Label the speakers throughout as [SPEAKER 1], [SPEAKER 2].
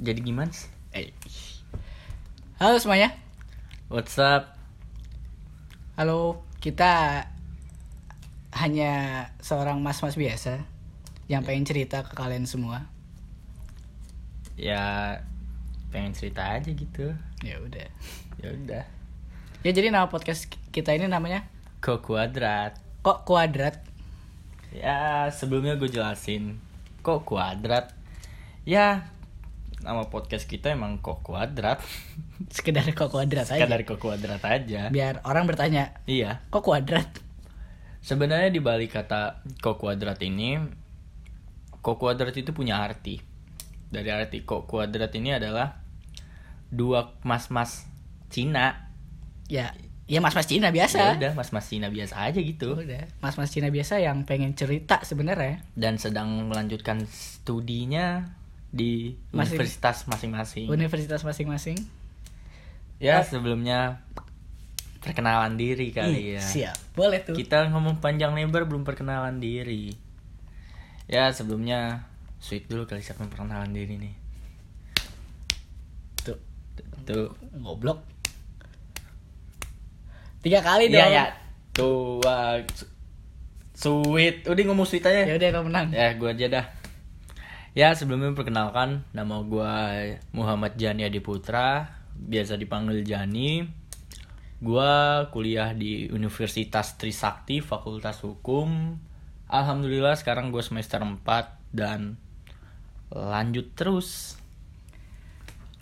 [SPEAKER 1] Jadi gimana sih?
[SPEAKER 2] Eh. Halo semuanya.
[SPEAKER 1] What's up?
[SPEAKER 2] Halo, kita hanya seorang mas-mas biasa yang pengen cerita ke kalian semua.
[SPEAKER 1] Ya pengen cerita aja gitu.
[SPEAKER 2] Ya udah.
[SPEAKER 1] Ya udah.
[SPEAKER 2] Ya jadi nama podcast kita ini namanya
[SPEAKER 1] Kok kuadrat?
[SPEAKER 2] Kok Kuadrat.
[SPEAKER 1] Ya sebelumnya gue jelasin kok kuadrat. Ya nama podcast kita emang kok kuadrat.
[SPEAKER 2] Sekedar Kok Kuadrat
[SPEAKER 1] Sekadar
[SPEAKER 2] aja.
[SPEAKER 1] kok kuadrat aja.
[SPEAKER 2] Biar orang bertanya,
[SPEAKER 1] Iya.
[SPEAKER 2] "Kok Kuadrat?"
[SPEAKER 1] Sebenarnya di balik kata kok kuadrat ini, kok kuadrat itu punya arti. Dari arti kok kuadrat ini adalah dua mas-mas Cina.
[SPEAKER 2] Ya, ya mas-mas Cina
[SPEAKER 1] Ya
[SPEAKER 2] biasa.
[SPEAKER 1] udah, mas-mas Cina biasa aja gitu.
[SPEAKER 2] Udah, mas-mas Cina biasa yang pengen cerita sebenarnya.
[SPEAKER 1] Dan sedang melanjutkan studinya di
[SPEAKER 2] Masing-
[SPEAKER 1] universitas masing-masing.
[SPEAKER 2] Universitas masing-masing.
[SPEAKER 1] ya, sebelumnya perkenalan diri kali ya.
[SPEAKER 2] Siap. Boleh tuh.
[SPEAKER 1] Kita ngomong panjang lebar belum perkenalan diri. Ya, sebelumnya sweet dulu kali siapa yang perkenalan diri nih.
[SPEAKER 2] Tuh.
[SPEAKER 1] Tuh.
[SPEAKER 2] Goblok. Tiga kali dong.
[SPEAKER 1] Iya ya. Tuh wah, su- sweet. Udah ngomong sweet aja.
[SPEAKER 2] Ya udah kau menang.
[SPEAKER 1] Ya, gua aja dah. Ya, sebelumnya perkenalkan nama gua Muhammad Jani Adi Putra, biasa dipanggil Jani. Gua kuliah di Universitas Trisakti, Fakultas Hukum. Alhamdulillah sekarang gua semester 4 dan lanjut terus.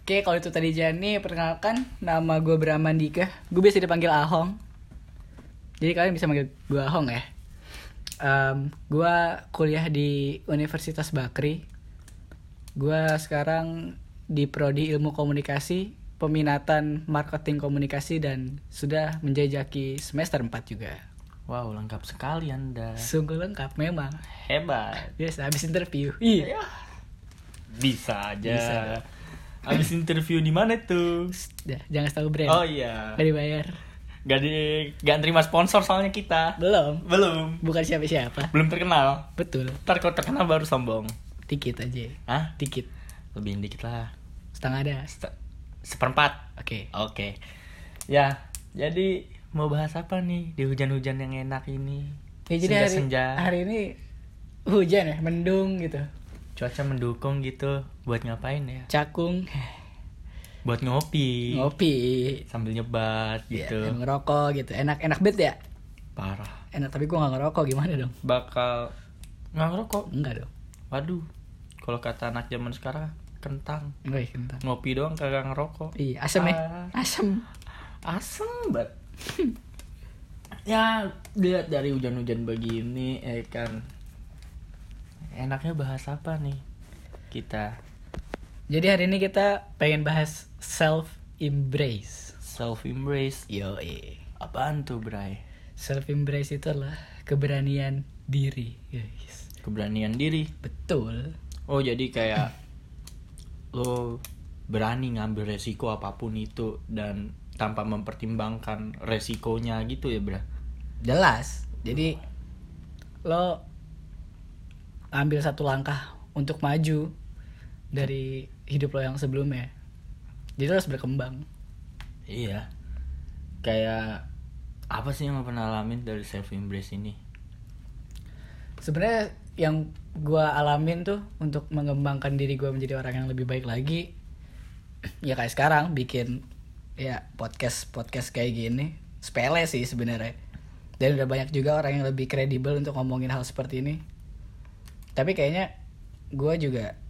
[SPEAKER 2] Oke, kalau itu tadi Jani, perkenalkan nama gue Brahman Dika. Gue biasa dipanggil Ahong. Jadi kalian bisa manggil gue Ahong ya. Em, gue kuliah di Universitas Bakri. Gue sekarang di Prodi Ilmu Komunikasi, peminatan marketing komunikasi dan sudah menjajaki semester 4 juga.
[SPEAKER 1] Wow, lengkap sekali Anda.
[SPEAKER 2] Sungguh lengkap memang.
[SPEAKER 1] Hebat.
[SPEAKER 2] Biasa habis interview. Ih,
[SPEAKER 1] Ya, Bisa aja.
[SPEAKER 2] Bisa.
[SPEAKER 1] Habis interview di mana tuh?
[SPEAKER 2] dah, jangan tahu brand.
[SPEAKER 1] Oh iya.
[SPEAKER 2] Gak dibayar.
[SPEAKER 1] Gak di gak terima sponsor soalnya kita.
[SPEAKER 2] Belum.
[SPEAKER 1] Belum.
[SPEAKER 2] Bukan siapa-siapa.
[SPEAKER 1] Belum terkenal.
[SPEAKER 2] Betul.
[SPEAKER 1] Ntar kalau terkenal baru sombong.
[SPEAKER 2] Dikit aja.
[SPEAKER 1] Hah?
[SPEAKER 2] Dikit.
[SPEAKER 1] Lebih dikit lah.
[SPEAKER 2] Setengah ada.
[SPEAKER 1] Se- seperempat.
[SPEAKER 2] Oke.
[SPEAKER 1] Oke. Ya, jadi mau bahas apa nih di hujan-hujan yang enak ini?
[SPEAKER 2] Ya, jadi hari,
[SPEAKER 1] Senja-senja.
[SPEAKER 2] hari ini hujan ya, mendung gitu.
[SPEAKER 1] Cuaca mendukung gitu. Buat ngapain ya?
[SPEAKER 2] Cakung,
[SPEAKER 1] Buat ngopi.
[SPEAKER 2] ngopi,
[SPEAKER 1] Sambil nyebat
[SPEAKER 2] ya,
[SPEAKER 1] gitu.
[SPEAKER 2] dan ngerokok gitu. Enak enak bet ya.
[SPEAKER 1] Parah.
[SPEAKER 2] Enak tapi gua nggak ngerokok gimana dong?
[SPEAKER 1] Bakal nggak ngerokok.
[SPEAKER 2] Enggak dong.
[SPEAKER 1] Waduh. Kalau kata anak zaman sekarang kentang.
[SPEAKER 2] Enggak ya, kentang.
[SPEAKER 1] Ngopi doang kagak ngerokok.
[SPEAKER 2] Iya, asem ya.
[SPEAKER 1] Ah.
[SPEAKER 2] Asem.
[SPEAKER 1] asem banget ya lihat dari hujan-hujan begini eh kan enaknya bahas apa nih kita
[SPEAKER 2] Jadi hari ini kita pengen bahas self embrace.
[SPEAKER 1] self embrace
[SPEAKER 2] Yo,
[SPEAKER 1] apaan tuh Bray
[SPEAKER 2] self embrace itu adalah keberanian diri, guys.
[SPEAKER 1] keberanian diri
[SPEAKER 2] Betul.
[SPEAKER 1] oh jadi kayak lo berani ngambil resiko apapun itu dan tanpa mempertimbangkan resikonya gitu ya Bray
[SPEAKER 2] jelas jadi lo ambil satu langkah untuk maju dari hidup lo yang sebelumnya jadi lo harus berkembang
[SPEAKER 1] Iya. Kayak apa sih yang lo pernah alamin dari self embrace ini?
[SPEAKER 2] sebenarnya yang gua alamin tuh untuk mengembangkan diri gua menjadi orang yang lebih baik lagi ya kayak sekarang bikin ya podcast podcast kayak gini sepele sih sebenarnya dan udah banyak juga orang yang lebih kredibel untuk ngomongin hal seperti ini tapi kayaknya gua juga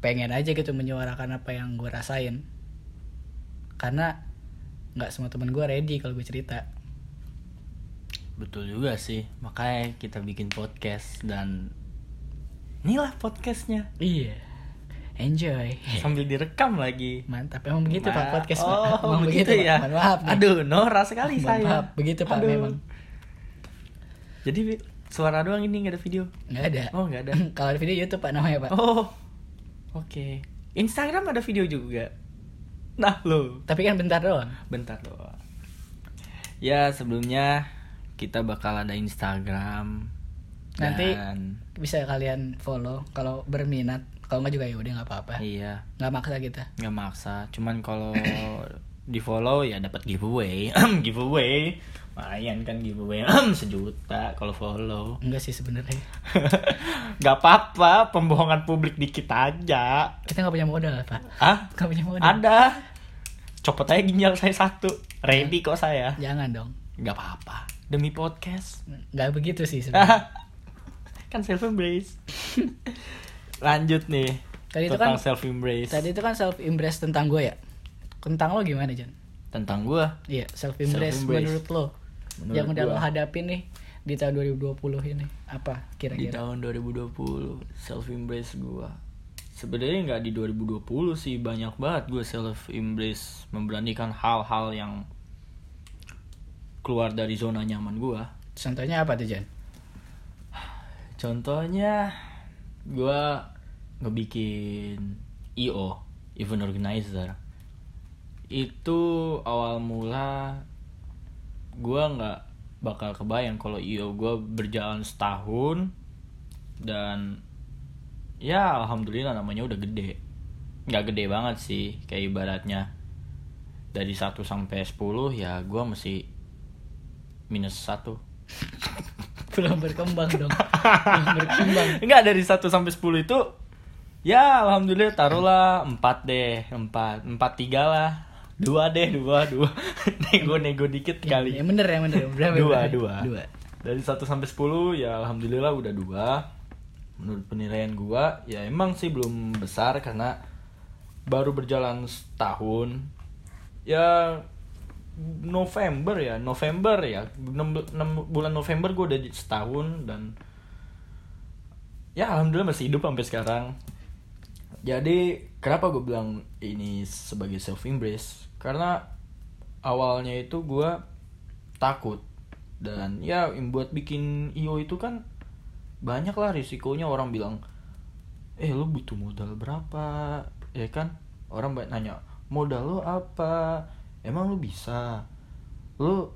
[SPEAKER 2] pengen aja gitu menyuarakan apa yang gua rasain karena nggak semua teman gua ready kalau gue cerita
[SPEAKER 1] Betul juga sih. Makanya kita bikin podcast dan inilah podcastnya
[SPEAKER 2] iya enjoy
[SPEAKER 1] sambil direkam lagi.
[SPEAKER 2] Mantap, Eh. emang begitu Pak
[SPEAKER 1] Ma-
[SPEAKER 2] podcast Pak.
[SPEAKER 1] Oh,
[SPEAKER 2] Emang
[SPEAKER 1] begitu,
[SPEAKER 2] Pak.
[SPEAKER 1] ya.
[SPEAKER 2] Mohon maaf. nih.
[SPEAKER 1] Aduh, norak sekali
[SPEAKER 2] Mohon
[SPEAKER 1] saya.
[SPEAKER 2] maaf, begitu Pak
[SPEAKER 1] Aduh.
[SPEAKER 2] memang.
[SPEAKER 1] Jadi Wi, suara doang ini nggak ada video.
[SPEAKER 2] Enggak ada.
[SPEAKER 1] Oh, nggak ada.
[SPEAKER 2] Kalau di video YouTube Pak namanya Ya. Pak.
[SPEAKER 1] Oh. Oke. Instagram ada video juga. Nah, lo.
[SPEAKER 2] Tapi kan bentar doang.
[SPEAKER 1] Bentar doang. Ya sebelumnya kita bakal ada Instagram
[SPEAKER 2] Nanti
[SPEAKER 1] Dan-
[SPEAKER 2] bisa kalian follow kalau berminat. Kalau nggak juga ya udah nggak apa-apa.
[SPEAKER 1] iya
[SPEAKER 2] Nggak maksa kita.
[SPEAKER 1] nggak maksa cuman kalau di follow ya dapat giveaway giveaway lumayan kan giveaway sejuta kalau follow
[SPEAKER 2] Enggak sih sebenarnya.
[SPEAKER 1] nggak apa-apa pembohongan publik dikit aja
[SPEAKER 2] Kita nggak punya modal Pak.
[SPEAKER 1] ah
[SPEAKER 2] Nggak punya modal.
[SPEAKER 1] ada copot aja ginjal saya satu ready kok saya
[SPEAKER 2] Jangan dong.
[SPEAKER 1] nggak apa-apa demi podcast
[SPEAKER 2] Nggak begitu sih sebenarnya.
[SPEAKER 1] kan self embrace lanjut nih
[SPEAKER 2] Tadi itu
[SPEAKER 1] tentang
[SPEAKER 2] kan-
[SPEAKER 1] self embrace
[SPEAKER 2] Tadi itu kan self impress tentang gue ya. Tentang lo gimana Jan?
[SPEAKER 1] tentang gua
[SPEAKER 2] Iya self impress
[SPEAKER 1] Self-embrace.
[SPEAKER 2] menurut lo
[SPEAKER 1] Menurut
[SPEAKER 2] yang udah
[SPEAKER 1] gua.
[SPEAKER 2] lo hadapin nih di tahun 2020 ini apa
[SPEAKER 1] di
[SPEAKER 2] kira-kira?
[SPEAKER 1] tahun 2020 self embrace gua sebenarnya nggak di 2020 sih banyak banget gue self embrace memberanikan hal-hal yang keluar dari zona nyaman gua
[SPEAKER 2] Contohnya apa tuh Jan?
[SPEAKER 1] Contohnya gua ngebikin IO, event organizer. Itu awal mula gua nggak bakal kebayang kalau IO gua berjalan setahun dan ya alhamdulillah namanya udah gede. Nggak gede banget sih kayak ibaratnya dari 1 sampai 10 ya gua masih minus satu
[SPEAKER 2] Belum berkembang dong. Belum berkembang.
[SPEAKER 1] Enggak dari 1 sampai 10 itu ya alhamdulillah taruhlah 4 deh, 4. 4 3 lah. 2 deh, 2 2. Nego-nego dikit
[SPEAKER 2] Iya,
[SPEAKER 1] kali.
[SPEAKER 2] Yang Ya, bener yang bener. ya. Berapa?
[SPEAKER 1] Dua,
[SPEAKER 2] berapa?
[SPEAKER 1] dua.
[SPEAKER 2] Dua.
[SPEAKER 1] Dari 1 sampai 10 ya alhamdulillah udah 2. Menurut penilaian gua ya emang sih belum besar karena baru berjalan setahun. Ya November ya, November ya. 6, bulan November gua udah setahun dan ya alhamdulillah masih hidup sampai sekarang jadi kenapa gue bilang ini sebagai self embrace karena awalnya itu gue takut dan ya yang buat bikin io itu kan banyak lah risikonya orang bilang eh lu butuh modal berapa ya kan orang banyak nanya modal lu apa emang lu bisa lu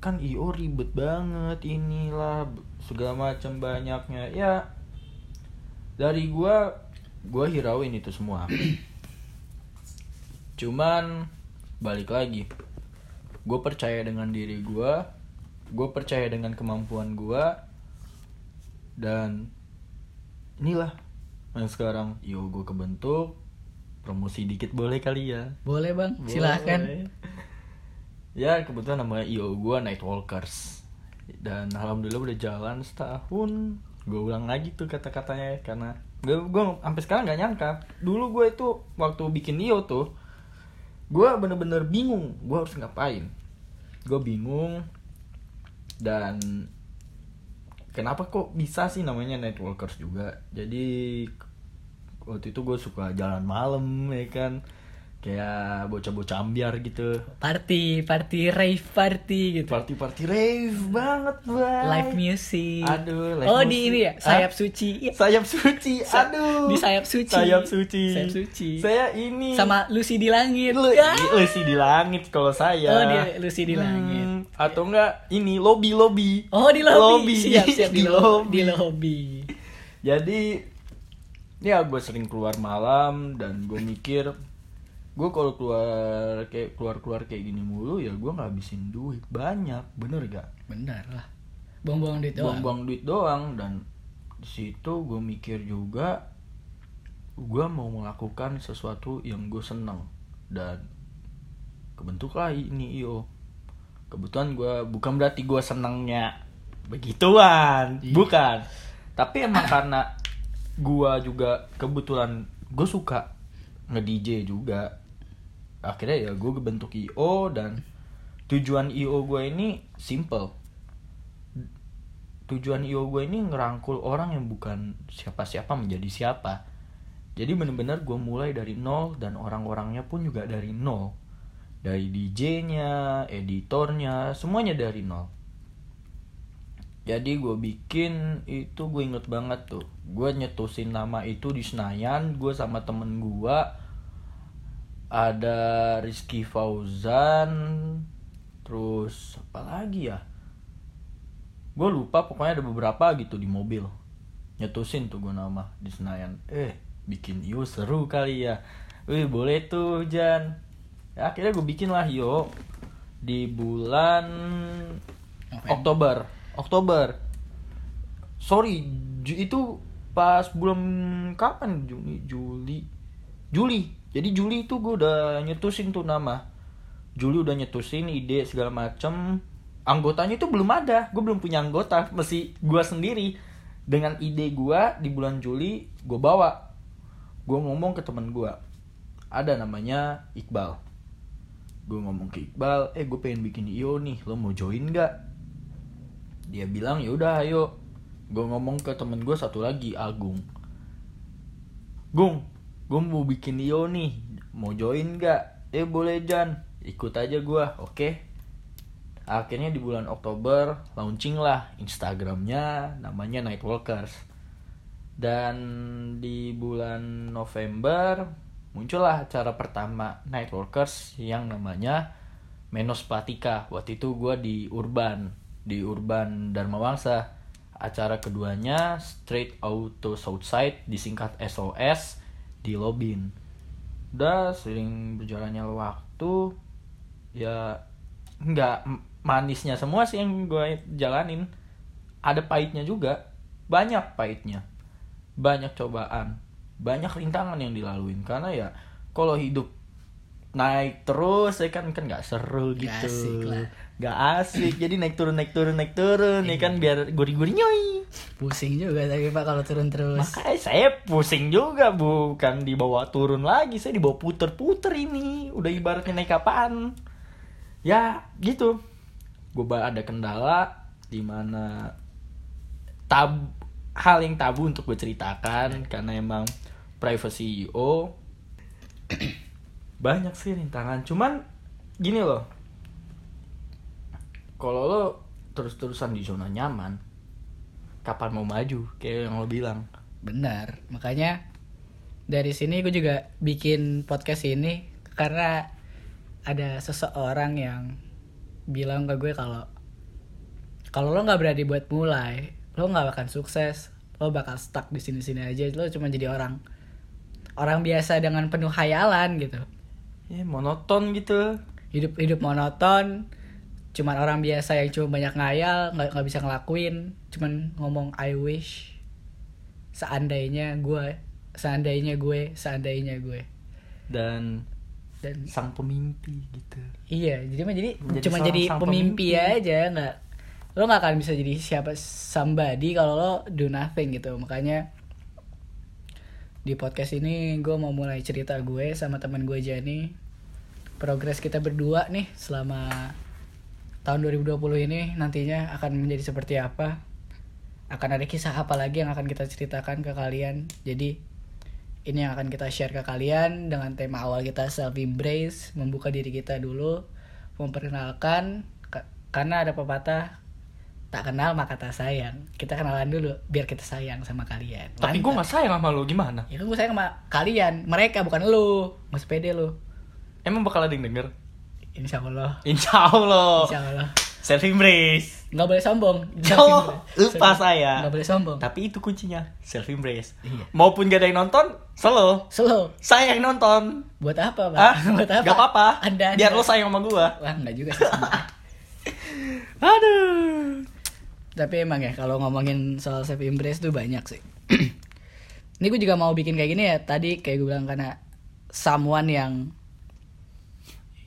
[SPEAKER 1] kan io ribet banget inilah segala macam banyaknya ya dari gua gua hirauin itu semua cuman balik lagi gue percaya dengan diri gua gue percaya dengan kemampuan gua dan inilah yang sekarang yo gue kebentuk promosi dikit boleh kali ya
[SPEAKER 2] Boleh bang.
[SPEAKER 1] Boleh.
[SPEAKER 2] Silahkan.
[SPEAKER 1] ya kebetulan nama io gue Nightwalkers dan alhamdulillah udah jalan setahun gue ulang lagi tuh kata-katanya karena gue gue sampai sekarang nggak nyangka dulu gue itu waktu bikin io tuh gue bener-bener bingung gue harus ngapain gue bingung dan kenapa kok bisa sih namanya Nightwalkers juga jadi waktu itu gue suka jalan malam ya kan kayak bocah-bocah ambiar gitu
[SPEAKER 2] Party, party, rave party gitu.
[SPEAKER 1] party-party rave banget bang
[SPEAKER 2] Live music.
[SPEAKER 1] Aduh, live
[SPEAKER 2] oh di
[SPEAKER 1] music.
[SPEAKER 2] ini ya
[SPEAKER 1] Hah?
[SPEAKER 2] sayap suci. Iya.
[SPEAKER 1] sayap suci
[SPEAKER 2] Sa-
[SPEAKER 1] aduh
[SPEAKER 2] di sayap suci.
[SPEAKER 1] sayap suci
[SPEAKER 2] Sayap suci.
[SPEAKER 1] saya ini
[SPEAKER 2] Sama Lucy di langit.
[SPEAKER 1] Lu-
[SPEAKER 2] Ya.
[SPEAKER 1] Lucy di langit kalau saya
[SPEAKER 2] Oh, di- Lucy di
[SPEAKER 1] Hmm,
[SPEAKER 2] langit.
[SPEAKER 1] atau enggak ini lobby lobby
[SPEAKER 2] Oh di lobby. Siap siap di,
[SPEAKER 1] Di
[SPEAKER 2] lo-
[SPEAKER 1] lobby.
[SPEAKER 2] di lobby.
[SPEAKER 1] jadi ya gue sering keluar malam dan gue mikir gue kalau keluar kayak keluar keluar kayak gini mulu ya gue ngabisin duit banyak bener gak
[SPEAKER 2] Bener lah. Buang-buang duit doang.
[SPEAKER 1] buang-buang duit doang dan di situ gue mikir juga gue mau melakukan sesuatu yang gue seneng dan kebentuklah ini io kebetulan gue bukan berarti gue senengnya begituan
[SPEAKER 2] Iya.
[SPEAKER 1] bukan tapi emang karena gue juga kebetulan gue suka nge DJ juga akhirnya ya gue bentuk io dan tujuan io gue ini simple tujuan io gue ini ngerangkul orang yang bukan siapa-siapa menjadi siapa jadi bener-bener gue mulai dari nol dan orang-orangnya pun juga dari nol dari DJ-nya editornya semuanya dari nol jadi gue bikin itu gue inget banget tuh gue nyetusin nama itu di Senayan gue sama temen gue ada Rizky Fauzan terus apa lagi ya gue lupa pokoknya ada beberapa gitu di mobil nyetusin tuh gue nama di Senayan eh bikin yo seru kali ya wih boleh tuh Jan Ya, akhirnya gue bikin lah yo di bulan
[SPEAKER 2] November.
[SPEAKER 1] Oktober Oktober sorry Ju- itu pas bulan kapan Juni Juli Juli jadi Juli itu gue udah nyetusin tuh nama Juli udah nyetusin ide segala macem anggotanya itu belum ada gue belum punya anggota mesti gue sendiri dengan ide gue di bulan Juli gue bawa gue ngomong ke temen gue ada namanya Iqbal gue ngomong ke Iqbal eh gue pengen bikin IO nih lo mau join gak dia bilang ya udah ayo gue ngomong ke temen gue satu lagi Agung Gung gue mau bikin IO nih mau join gak eh boleh Jan ikut aja gue oke akhirnya di bulan Oktober launching lah Instagramnya namanya Nightwalkers dan di bulan November muncullah acara pertama Nightwalkers yang namanya Menos Patika waktu itu gue di Urban di Urban Dharma Wangsa acara keduanya Straight Auto Southside disingkat SOS di Lobin udah sering berjalannya waktu ya nggak m- manisnya semua sih yang gue jalanin ada pahitnya juga banyak pahitnya banyak cobaan banyak rintangan yang dilaluin karena ya kalau hidup naik terus ya kan kan nggak seru gitu
[SPEAKER 2] Nggak asik lah. Iya.
[SPEAKER 1] Nggak asik jadi naik turun naik turun naik turun ya kan biar gurih-gurih nyoy
[SPEAKER 2] Pusing juga tapi Pak kalau turun terus.
[SPEAKER 1] makanya saya pusing juga bukan dibawa turun lagi saya dibawa puter-puter ini udah ibaratnya naik apaan ya gitu gue ada kendala di mana tab hal yang tabu untuk gue ceritakan karena emang privacy IO banyak sih rintangan cuman gini loh kalau lo terus-terusan di zona nyaman kapan mau maju kayak yang lo bilang
[SPEAKER 2] Benar. Makanya dari sini gue juga bikin podcast ini karena ada seseorang yang bilang ke gue kalau kalau lo nggak berani buat mulai, lo nggak akan sukses, lo bakal stuck di sini-sini aja, lo cuma jadi orang orang biasa dengan penuh hayalan gitu.
[SPEAKER 1] ya monoton gitu
[SPEAKER 2] hidup hidup monoton cuman orang biasa yang cuma banyak ngayal nggak nggak bisa ngelakuin cuman ngomong I wish seandainya gue seandainya gue seandainya gue
[SPEAKER 1] dan
[SPEAKER 2] dan
[SPEAKER 1] sang pemimpi gitu
[SPEAKER 2] iya jadi mah jadi
[SPEAKER 1] Menjadi
[SPEAKER 2] cuma
[SPEAKER 1] seorang
[SPEAKER 2] jadi
[SPEAKER 1] sang
[SPEAKER 2] pemimpi,
[SPEAKER 1] pemimpi.
[SPEAKER 2] aja nggak lo nggak akan bisa jadi siapa somebody kalau lo do nothing gitu makanya di podcast ini gue mau mulai cerita gue sama teman gue Jani progres kita berdua nih selama tahun 2020 ini nantinya akan menjadi seperti apa akan ada kisah apa lagi yang akan kita ceritakan ke kalian jadi ini yang akan kita share ke kalian dengan tema awal kita self embrace membuka diri kita dulu memperkenalkan ka- karena ada pepatah tak kenal maka tak sayang kita kenalan dulu biar kita sayang sama kalian
[SPEAKER 1] tapi gue gak sayang sama lo gimana
[SPEAKER 2] Ya kan gue sayang sama kalian, mereka bukan lu. Mas pede lu.
[SPEAKER 1] emang bakal ada yang denger
[SPEAKER 2] Insya Allah.
[SPEAKER 1] insya allah
[SPEAKER 2] Insya Allah.
[SPEAKER 1] self embrace
[SPEAKER 2] Nggak boleh sombong.
[SPEAKER 1] Oh, lupa saya.
[SPEAKER 2] Nggak boleh sombong.
[SPEAKER 1] tapi itu kuncinya self embrace
[SPEAKER 2] Iya.
[SPEAKER 1] maupun gak ada yang nonton selo
[SPEAKER 2] Slow.
[SPEAKER 1] saya yang nonton
[SPEAKER 2] Buat apa, Pak?
[SPEAKER 1] ah
[SPEAKER 2] Buat apa?
[SPEAKER 1] gak apa-apa
[SPEAKER 2] Anda,
[SPEAKER 1] biar
[SPEAKER 2] Anda.
[SPEAKER 1] lo sayang sama gue
[SPEAKER 2] Wah, nggak juga sih. sebenarnya.
[SPEAKER 1] aduh
[SPEAKER 2] Tapi emang ya, kalau ngomongin soal self embrace tuh banyak sih. Ini gue juga mau bikin kayak gini ya. Tadi kayak gue bilang karena someone yang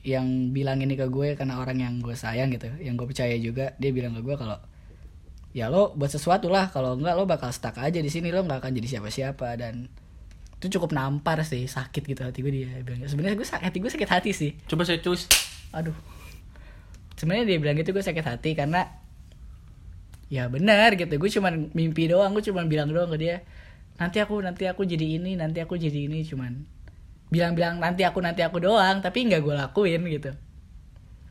[SPEAKER 2] yang bilang ini ke gue karena orang yang gue sayang gitu, yang gue percaya juga, dia bilang ke gue kalau ya lo buat sesuatu lah kalau enggak lo bakal stuck aja di sini lo nggak akan jadi siapa-siapa dan itu cukup nampar sih sakit gitu hati gue dia bilang sebenarnya gue sakit hati gue sakit hati sih
[SPEAKER 1] coba saya cus
[SPEAKER 2] aduh sebenarnya dia bilang gitu gue sakit hati karena ya benar gitu gue cuman mimpi doang gue cuman bilang doang ke dia nanti aku nanti aku jadi ini nanti aku jadi ini cuman bilang-bilang nanti aku nanti aku doang tapi nggak gue lakuin gitu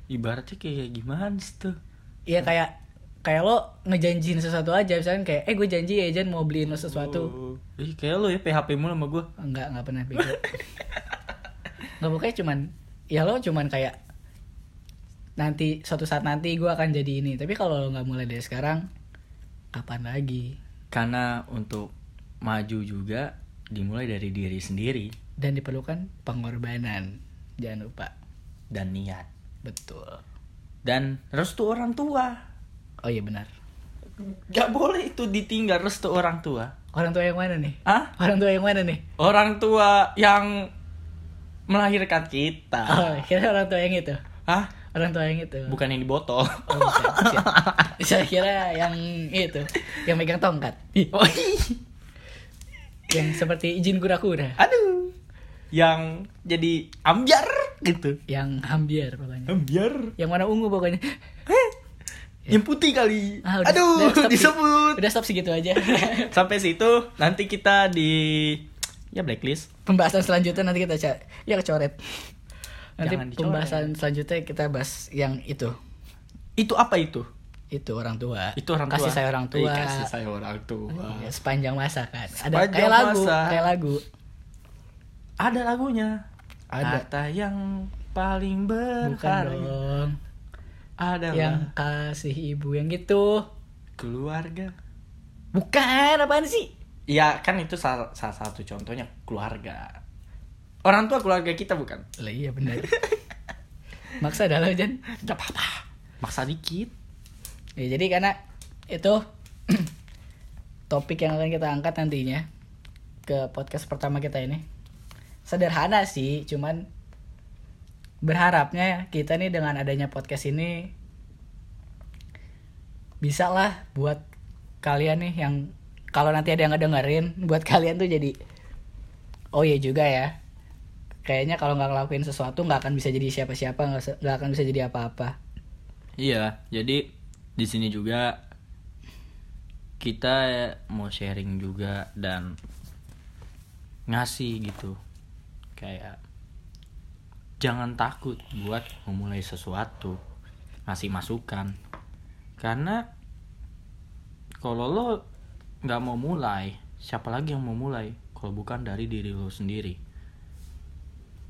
[SPEAKER 1] ibaratnya kayak gimana sih tuh
[SPEAKER 2] Iya kayak kayak lo ngejanjiin sesuatu aja misalnya kayak eh gue janji ya Jan mau beliin lo sesuatu
[SPEAKER 1] Oh. Ih, kayak lo ya PHP mulu sama gue
[SPEAKER 2] enggak enggak pernah bego nggak pokoknya cuman ya lo cuman kayak nanti suatu saat nanti gue akan jadi ini tapi kalau lo nggak mulai dari sekarang kapan lagi
[SPEAKER 1] Karena untuk maju juga dimulai dari diri sendiri
[SPEAKER 2] dan diperlukan pengorbanan jangan lupa
[SPEAKER 1] dan niat
[SPEAKER 2] betul
[SPEAKER 1] dan restu orang tua.
[SPEAKER 2] oh iya benar
[SPEAKER 1] Gak boleh itu ditinggal restu orang tua.
[SPEAKER 2] orang tua yang mana nih
[SPEAKER 1] Hah?
[SPEAKER 2] orang tua yang mana nih
[SPEAKER 1] Orang tua yang melahirkan kita.
[SPEAKER 2] oh kira orang tua yang itu
[SPEAKER 1] Hah?
[SPEAKER 2] orang tua yang itu
[SPEAKER 1] Bukan yang di botol.
[SPEAKER 2] Oh, bukan. Siap. saya kira yang itu yang megang tongkat
[SPEAKER 1] Oh, iya.
[SPEAKER 2] yang seperti izin kura-kura
[SPEAKER 1] Aduh. Yang jadi ambiar gitu.
[SPEAKER 2] yang hambiar pokoknya
[SPEAKER 1] Ambiar.
[SPEAKER 2] yang warna ungu pokoknya
[SPEAKER 1] Yang putih kali.
[SPEAKER 2] Ah, udah-
[SPEAKER 1] Aduh,
[SPEAKER 2] udah stop sih.
[SPEAKER 1] disebut.
[SPEAKER 2] udah stop segitu aja
[SPEAKER 1] Sampai situ nanti kita di ya blacklist.
[SPEAKER 2] pembahasan selanjutnya nanti kita ca- ya coret nanti
[SPEAKER 1] Jangan dicoret.
[SPEAKER 2] pembahasan selanjutnya kita bahas yang itu
[SPEAKER 1] Itu apa itu?
[SPEAKER 2] itu orang tua
[SPEAKER 1] Itu orang tua.
[SPEAKER 2] kasih saya orang tua
[SPEAKER 1] Iya, kasih saya orang tua.
[SPEAKER 2] Ya, sepanjang masa kan ada
[SPEAKER 1] Sepanjang
[SPEAKER 2] kayak lagu
[SPEAKER 1] masa.
[SPEAKER 2] kayak lagu
[SPEAKER 1] Ada lagunya.
[SPEAKER 2] Ada.
[SPEAKER 1] Harta yang paling
[SPEAKER 2] bukan
[SPEAKER 1] berharga
[SPEAKER 2] dong
[SPEAKER 1] adalah
[SPEAKER 2] yang kasih ibu yang gitu
[SPEAKER 1] keluarga.
[SPEAKER 2] bukan apaan sih
[SPEAKER 1] Ya kan itu salah, salah satu contohnya keluarga. Orang tua keluarga kita bukan?
[SPEAKER 2] lah iya benar maksa dah lo Jan
[SPEAKER 1] Gak apa-apa. Maksa dikit.
[SPEAKER 2] Ya, jadi karena itu topik yang akan kita angkat nantinya ke podcast pertama kita ini. Sederhana sih, cuman berharapnya kita nih dengan adanya podcast ini bisa lah buat kalian nih yang kalau nanti ada yang ngedengerin buat kalian tuh jadi oh iya juga ya kayaknya kalau nggak ngelakuin sesuatu nggak akan bisa jadi siapa-siapa nggak se- nggak akan bisa jadi apa-apa
[SPEAKER 1] Iya, jadi di sini juga kita mau sharing juga dan ngasih gitu. Kayak jangan takut buat memulai sesuatu, ngasih masukan. Karena kalau lo nggak mau mulai, siapa lagi yang mau mulai kalau bukan dari diri lo sendiri?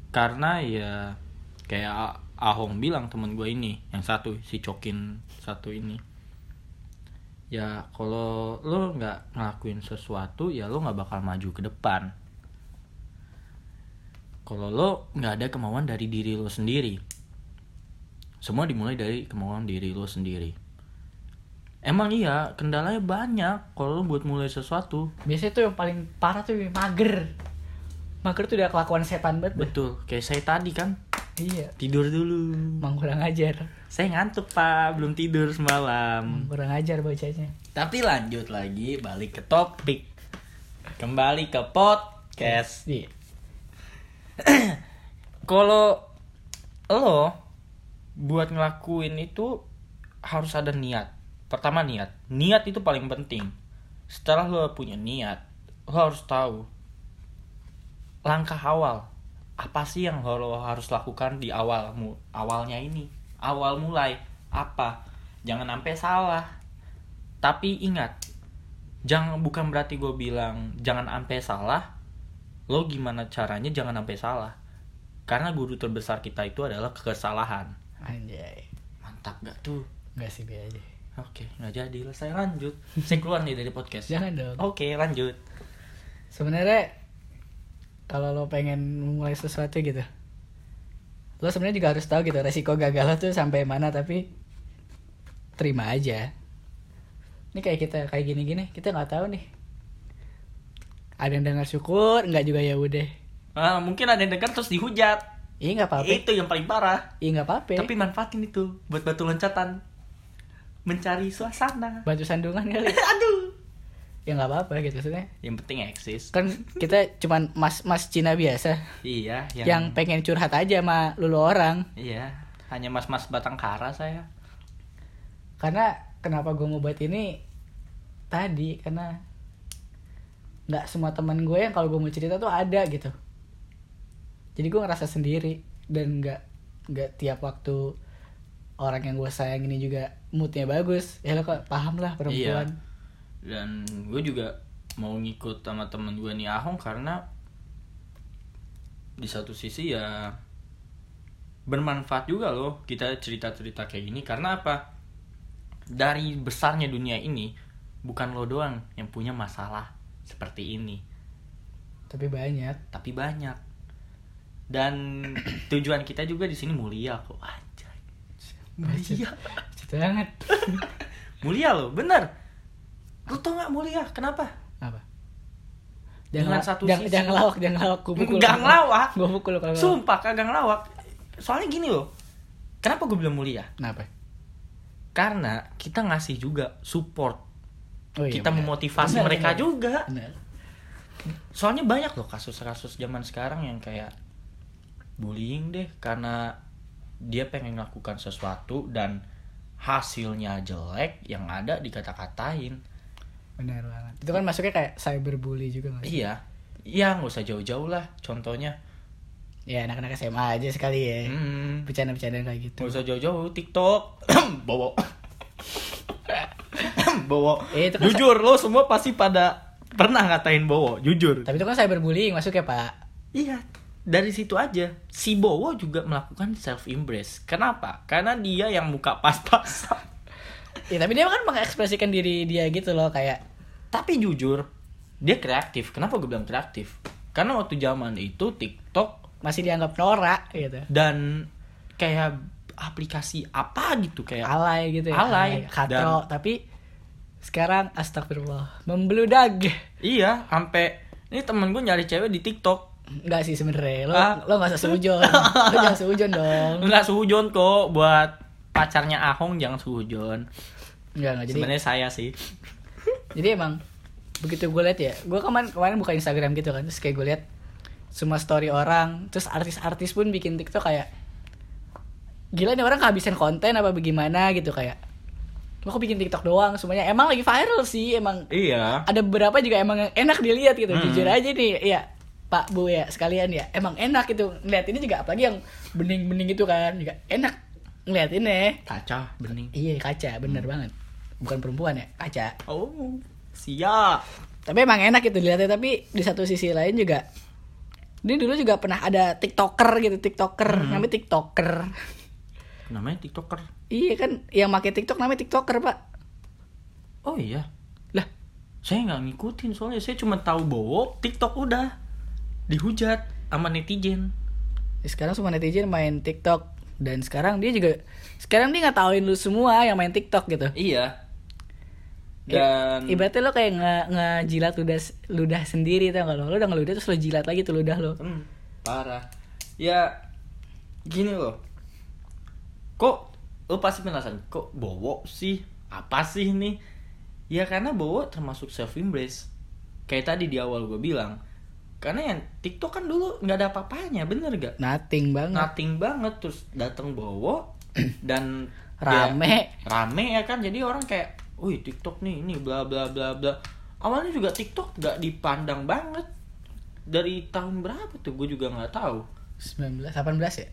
[SPEAKER 1] karena ya kayak A- Ahong bilang temen gue ini yang satu si Cokin satu ini ya kalau lo nggak ngelakuin sesuatu ya lo nggak bakal maju ke depan kalau lo nggak ada kemauan dari diri lo sendiri semua dimulai dari kemauan diri lo sendiri emang iya kendalanya banyak kalau lo buat mulai sesuatu
[SPEAKER 2] Biasanya tuh yang paling parah tuh yang mager. Mager tuh udah kelakuan setan banget.
[SPEAKER 1] betul kayak saya tadi kan
[SPEAKER 2] Iya.
[SPEAKER 1] tidur dulu
[SPEAKER 2] Emang kurang ajar.
[SPEAKER 1] Saya ngantuk pak, belum tidur semalam.
[SPEAKER 2] Kurang ajar bacanya.
[SPEAKER 1] Tapi lanjut lagi, balik ke topik. Kembali ke podcast.
[SPEAKER 2] Iya.
[SPEAKER 1] Kalau lo buat ngelakuin itu harus ada niat. Pertama niat. Niat itu paling penting. Setelah lo punya niat, lo harus tahu langkah awal apa sih yang lo harus lakukan di awalmu awalnya ini awal mulai apa jangan sampai salah tapi ingat jangan bukan berarti gue bilang jangan sampai salah lo gimana caranya jangan sampai salah karena guru terbesar kita itu adalah kesalahan
[SPEAKER 2] Anjay.
[SPEAKER 1] mantap gak tuh
[SPEAKER 2] Enggak sih biar aja.
[SPEAKER 1] oke nggak jadi lah saya lanjut saya keluar nih dari podcast
[SPEAKER 2] Jangan dong.
[SPEAKER 1] oke lanjut
[SPEAKER 2] Sebenarnya kalau lo pengen mulai sesuatu gitu, lo sebenarnya juga harus tahu gitu resiko gagal lo tuh sampai mana tapi terima aja. Ini kayak kita kayak gini-gini kita nggak tahu nih. Ada yang dengar syukur, nggak juga ya udah.
[SPEAKER 1] Ah, mungkin ada yang dengar terus dihujat
[SPEAKER 2] Iya nggak apa-apa.
[SPEAKER 1] itu yang paling parah
[SPEAKER 2] Iya nggak apa-apa.
[SPEAKER 1] Tapi manfaatin itu buat batu loncatan. Mencari suasana.
[SPEAKER 2] batu sandungan kali.
[SPEAKER 1] Aduh.
[SPEAKER 2] ya nggak apa-apa gitu maksudnya.
[SPEAKER 1] Yang penting eksis.
[SPEAKER 2] Kan kita cuman mas mas Cina biasa
[SPEAKER 1] Iya,
[SPEAKER 2] yang, pengen curhat aja sama lulu orang.
[SPEAKER 1] Iya, hanya mas-mas batang kara saya.
[SPEAKER 2] Karena kenapa gue mau buat ini tadi karena nggak semua teman gue yang kalau gue mau cerita tuh ada gitu. Jadi gue ngerasa sendiri dan nggak nggak tiap waktu orang yang gue sayang ini juga moodnya bagus ya lo kok paham lah perempuan
[SPEAKER 1] Dan gue juga mau ngikut sama temen gue nih Ahong karena di satu sisi ya bermanfaat juga loh kita cerita-cerita kayak gini karena apa? Dari besarnya dunia ini bukan lo doang yang punya masalah seperti ini
[SPEAKER 2] tapi banyak
[SPEAKER 1] tapi banyak dan tujuan kita juga di sini mulia kok anjay Iya. mulia
[SPEAKER 2] Cita banget
[SPEAKER 1] mulia lo bener lo tau nggak mulia kenapa
[SPEAKER 2] apa
[SPEAKER 1] Dengan
[SPEAKER 2] jangan
[SPEAKER 1] satu
[SPEAKER 2] satu jangan,
[SPEAKER 1] sisi.
[SPEAKER 2] jangan lawak jangan lawak gue pukul
[SPEAKER 1] Nggak ngelawak.
[SPEAKER 2] gue pukul kalau ngelawak.
[SPEAKER 1] sumpah kagak ngelawak soalnya gini loh kenapa gue bilang mulia
[SPEAKER 2] kenapa
[SPEAKER 1] karena kita ngasih juga support
[SPEAKER 2] Oh, iya,
[SPEAKER 1] kita
[SPEAKER 2] benar.
[SPEAKER 1] memotivasi
[SPEAKER 2] Benar,
[SPEAKER 1] mereka
[SPEAKER 2] benar.
[SPEAKER 1] juga
[SPEAKER 2] Benar.
[SPEAKER 1] soalnya banyak loh kasus-kasus zaman sekarang yang kayak bullying deh karena dia pengen melakukan sesuatu dan hasilnya jelek yang ada dikata-katain
[SPEAKER 2] benar banget itu kan masuknya kayak cyberbully juga nggak sih
[SPEAKER 1] iya ya nggak usah jauh-jauh lah contohnya
[SPEAKER 2] ya anak-anak SMA aja sekali ya
[SPEAKER 1] hmm,
[SPEAKER 2] bercanda-bercanda kayak gitu
[SPEAKER 1] nggak usah jauh-jauh TikTok bawa bawa
[SPEAKER 2] Eh, itu kan
[SPEAKER 1] jujur lo semua pasti pada pernah ngatain Bowo jujur
[SPEAKER 2] tapi itu kan cyberbullying masuknya pak
[SPEAKER 1] Iya, dari situ aja si Bowo juga melakukan self embrace. Kenapa? Karena dia yang muka pas-pasan.
[SPEAKER 2] ya tapi dia kan mengekspresikan diri dia gitu loh kayak
[SPEAKER 1] Tapi jujur, dia kreatif. Kenapa gue bilang kreatif? Karena waktu zaman itu TikTok
[SPEAKER 2] masih dianggap norak gitu
[SPEAKER 1] dan kayak aplikasi apa gitu kayak
[SPEAKER 2] alay gitu ya
[SPEAKER 1] Alay.
[SPEAKER 2] katro tapi sekarang astagfirullah membludak
[SPEAKER 1] iya sampai ini temen gue nyari cewek di TikTok
[SPEAKER 2] Enggak sih sebenernya, lo,
[SPEAKER 1] Ah.
[SPEAKER 2] lo gak usah seujon Lo jangan seujon dong
[SPEAKER 1] nggak suhujon kok buat pacarnya Ahong jangan suhujon
[SPEAKER 2] Enggak, enggak, jadi
[SPEAKER 1] sebenarnya saya sih
[SPEAKER 2] Jadi emang begitu gue lihat ya, gue kemarin kemarin buka Instagram gitu kan, terus kayak gue lihat semua story orang, terus artis-artis pun bikin TikTok kayak gila nih orang kehabisan konten apa bagaimana gitu kayak. Lo kok bikin TikTok doang semuanya? Emang lagi viral sih, emang
[SPEAKER 1] iya
[SPEAKER 2] ada beberapa juga emang yang enak dilihat gitu.
[SPEAKER 1] Hmm.
[SPEAKER 2] Jujur aja nih, iya Pak Bu ya sekalian ya, emang enak gitu. Ngeliat ini juga apalagi yang bening-bening gitu kan, juga enak ngeliat ini.
[SPEAKER 1] kaca bening
[SPEAKER 2] Iya kaca, bener
[SPEAKER 1] Hmm.
[SPEAKER 2] banget. Bukan perempuan ya, kaca.
[SPEAKER 1] oh siap
[SPEAKER 2] tapi emang enak gitu dilihatnya tapi di satu sisi lain juga ini dulu juga pernah ada tiktoker gitu tiktoker
[SPEAKER 1] Hmm.
[SPEAKER 2] namanya tiktoker
[SPEAKER 1] namanya tiktoker
[SPEAKER 2] iya kan yang pakai tiktok namanya tiktoker pak
[SPEAKER 1] oh iya
[SPEAKER 2] lah
[SPEAKER 1] saya nggak ngikutin soalnya saya cuma tahu bowo tiktok udah dihujat sama netizen
[SPEAKER 2] ya sekarang semua netizen main tiktok dan sekarang dia juga sekarang dia nggak tauin lu semua yang main tiktok gitu
[SPEAKER 1] iya
[SPEAKER 2] I-
[SPEAKER 1] dan
[SPEAKER 2] ibaratnya lo kayak nge ngejilat ludah ludah sendiri tau gak lo lo udah ngeludah terus lo jilat lagi tuh ludah lo
[SPEAKER 1] Hmm, parah ya gini loh kok lo pasti penasaran kok bowo sih apa sih ini ya karena bowo termasuk self embrace kayak tadi di awal gue bilang karena yang tiktok kan dulu nggak ada apa-apanya bener gak
[SPEAKER 2] nothing banget
[SPEAKER 1] nothing banget terus datang bawa dan ya,
[SPEAKER 2] rame
[SPEAKER 1] rame ya kan jadi orang kayak wih TikTok nih ini bla bla bla bla awalnya juga TikTok nggak dipandang banget dari tahun berapa tuh gue juga nggak tahu
[SPEAKER 2] 19 18 ya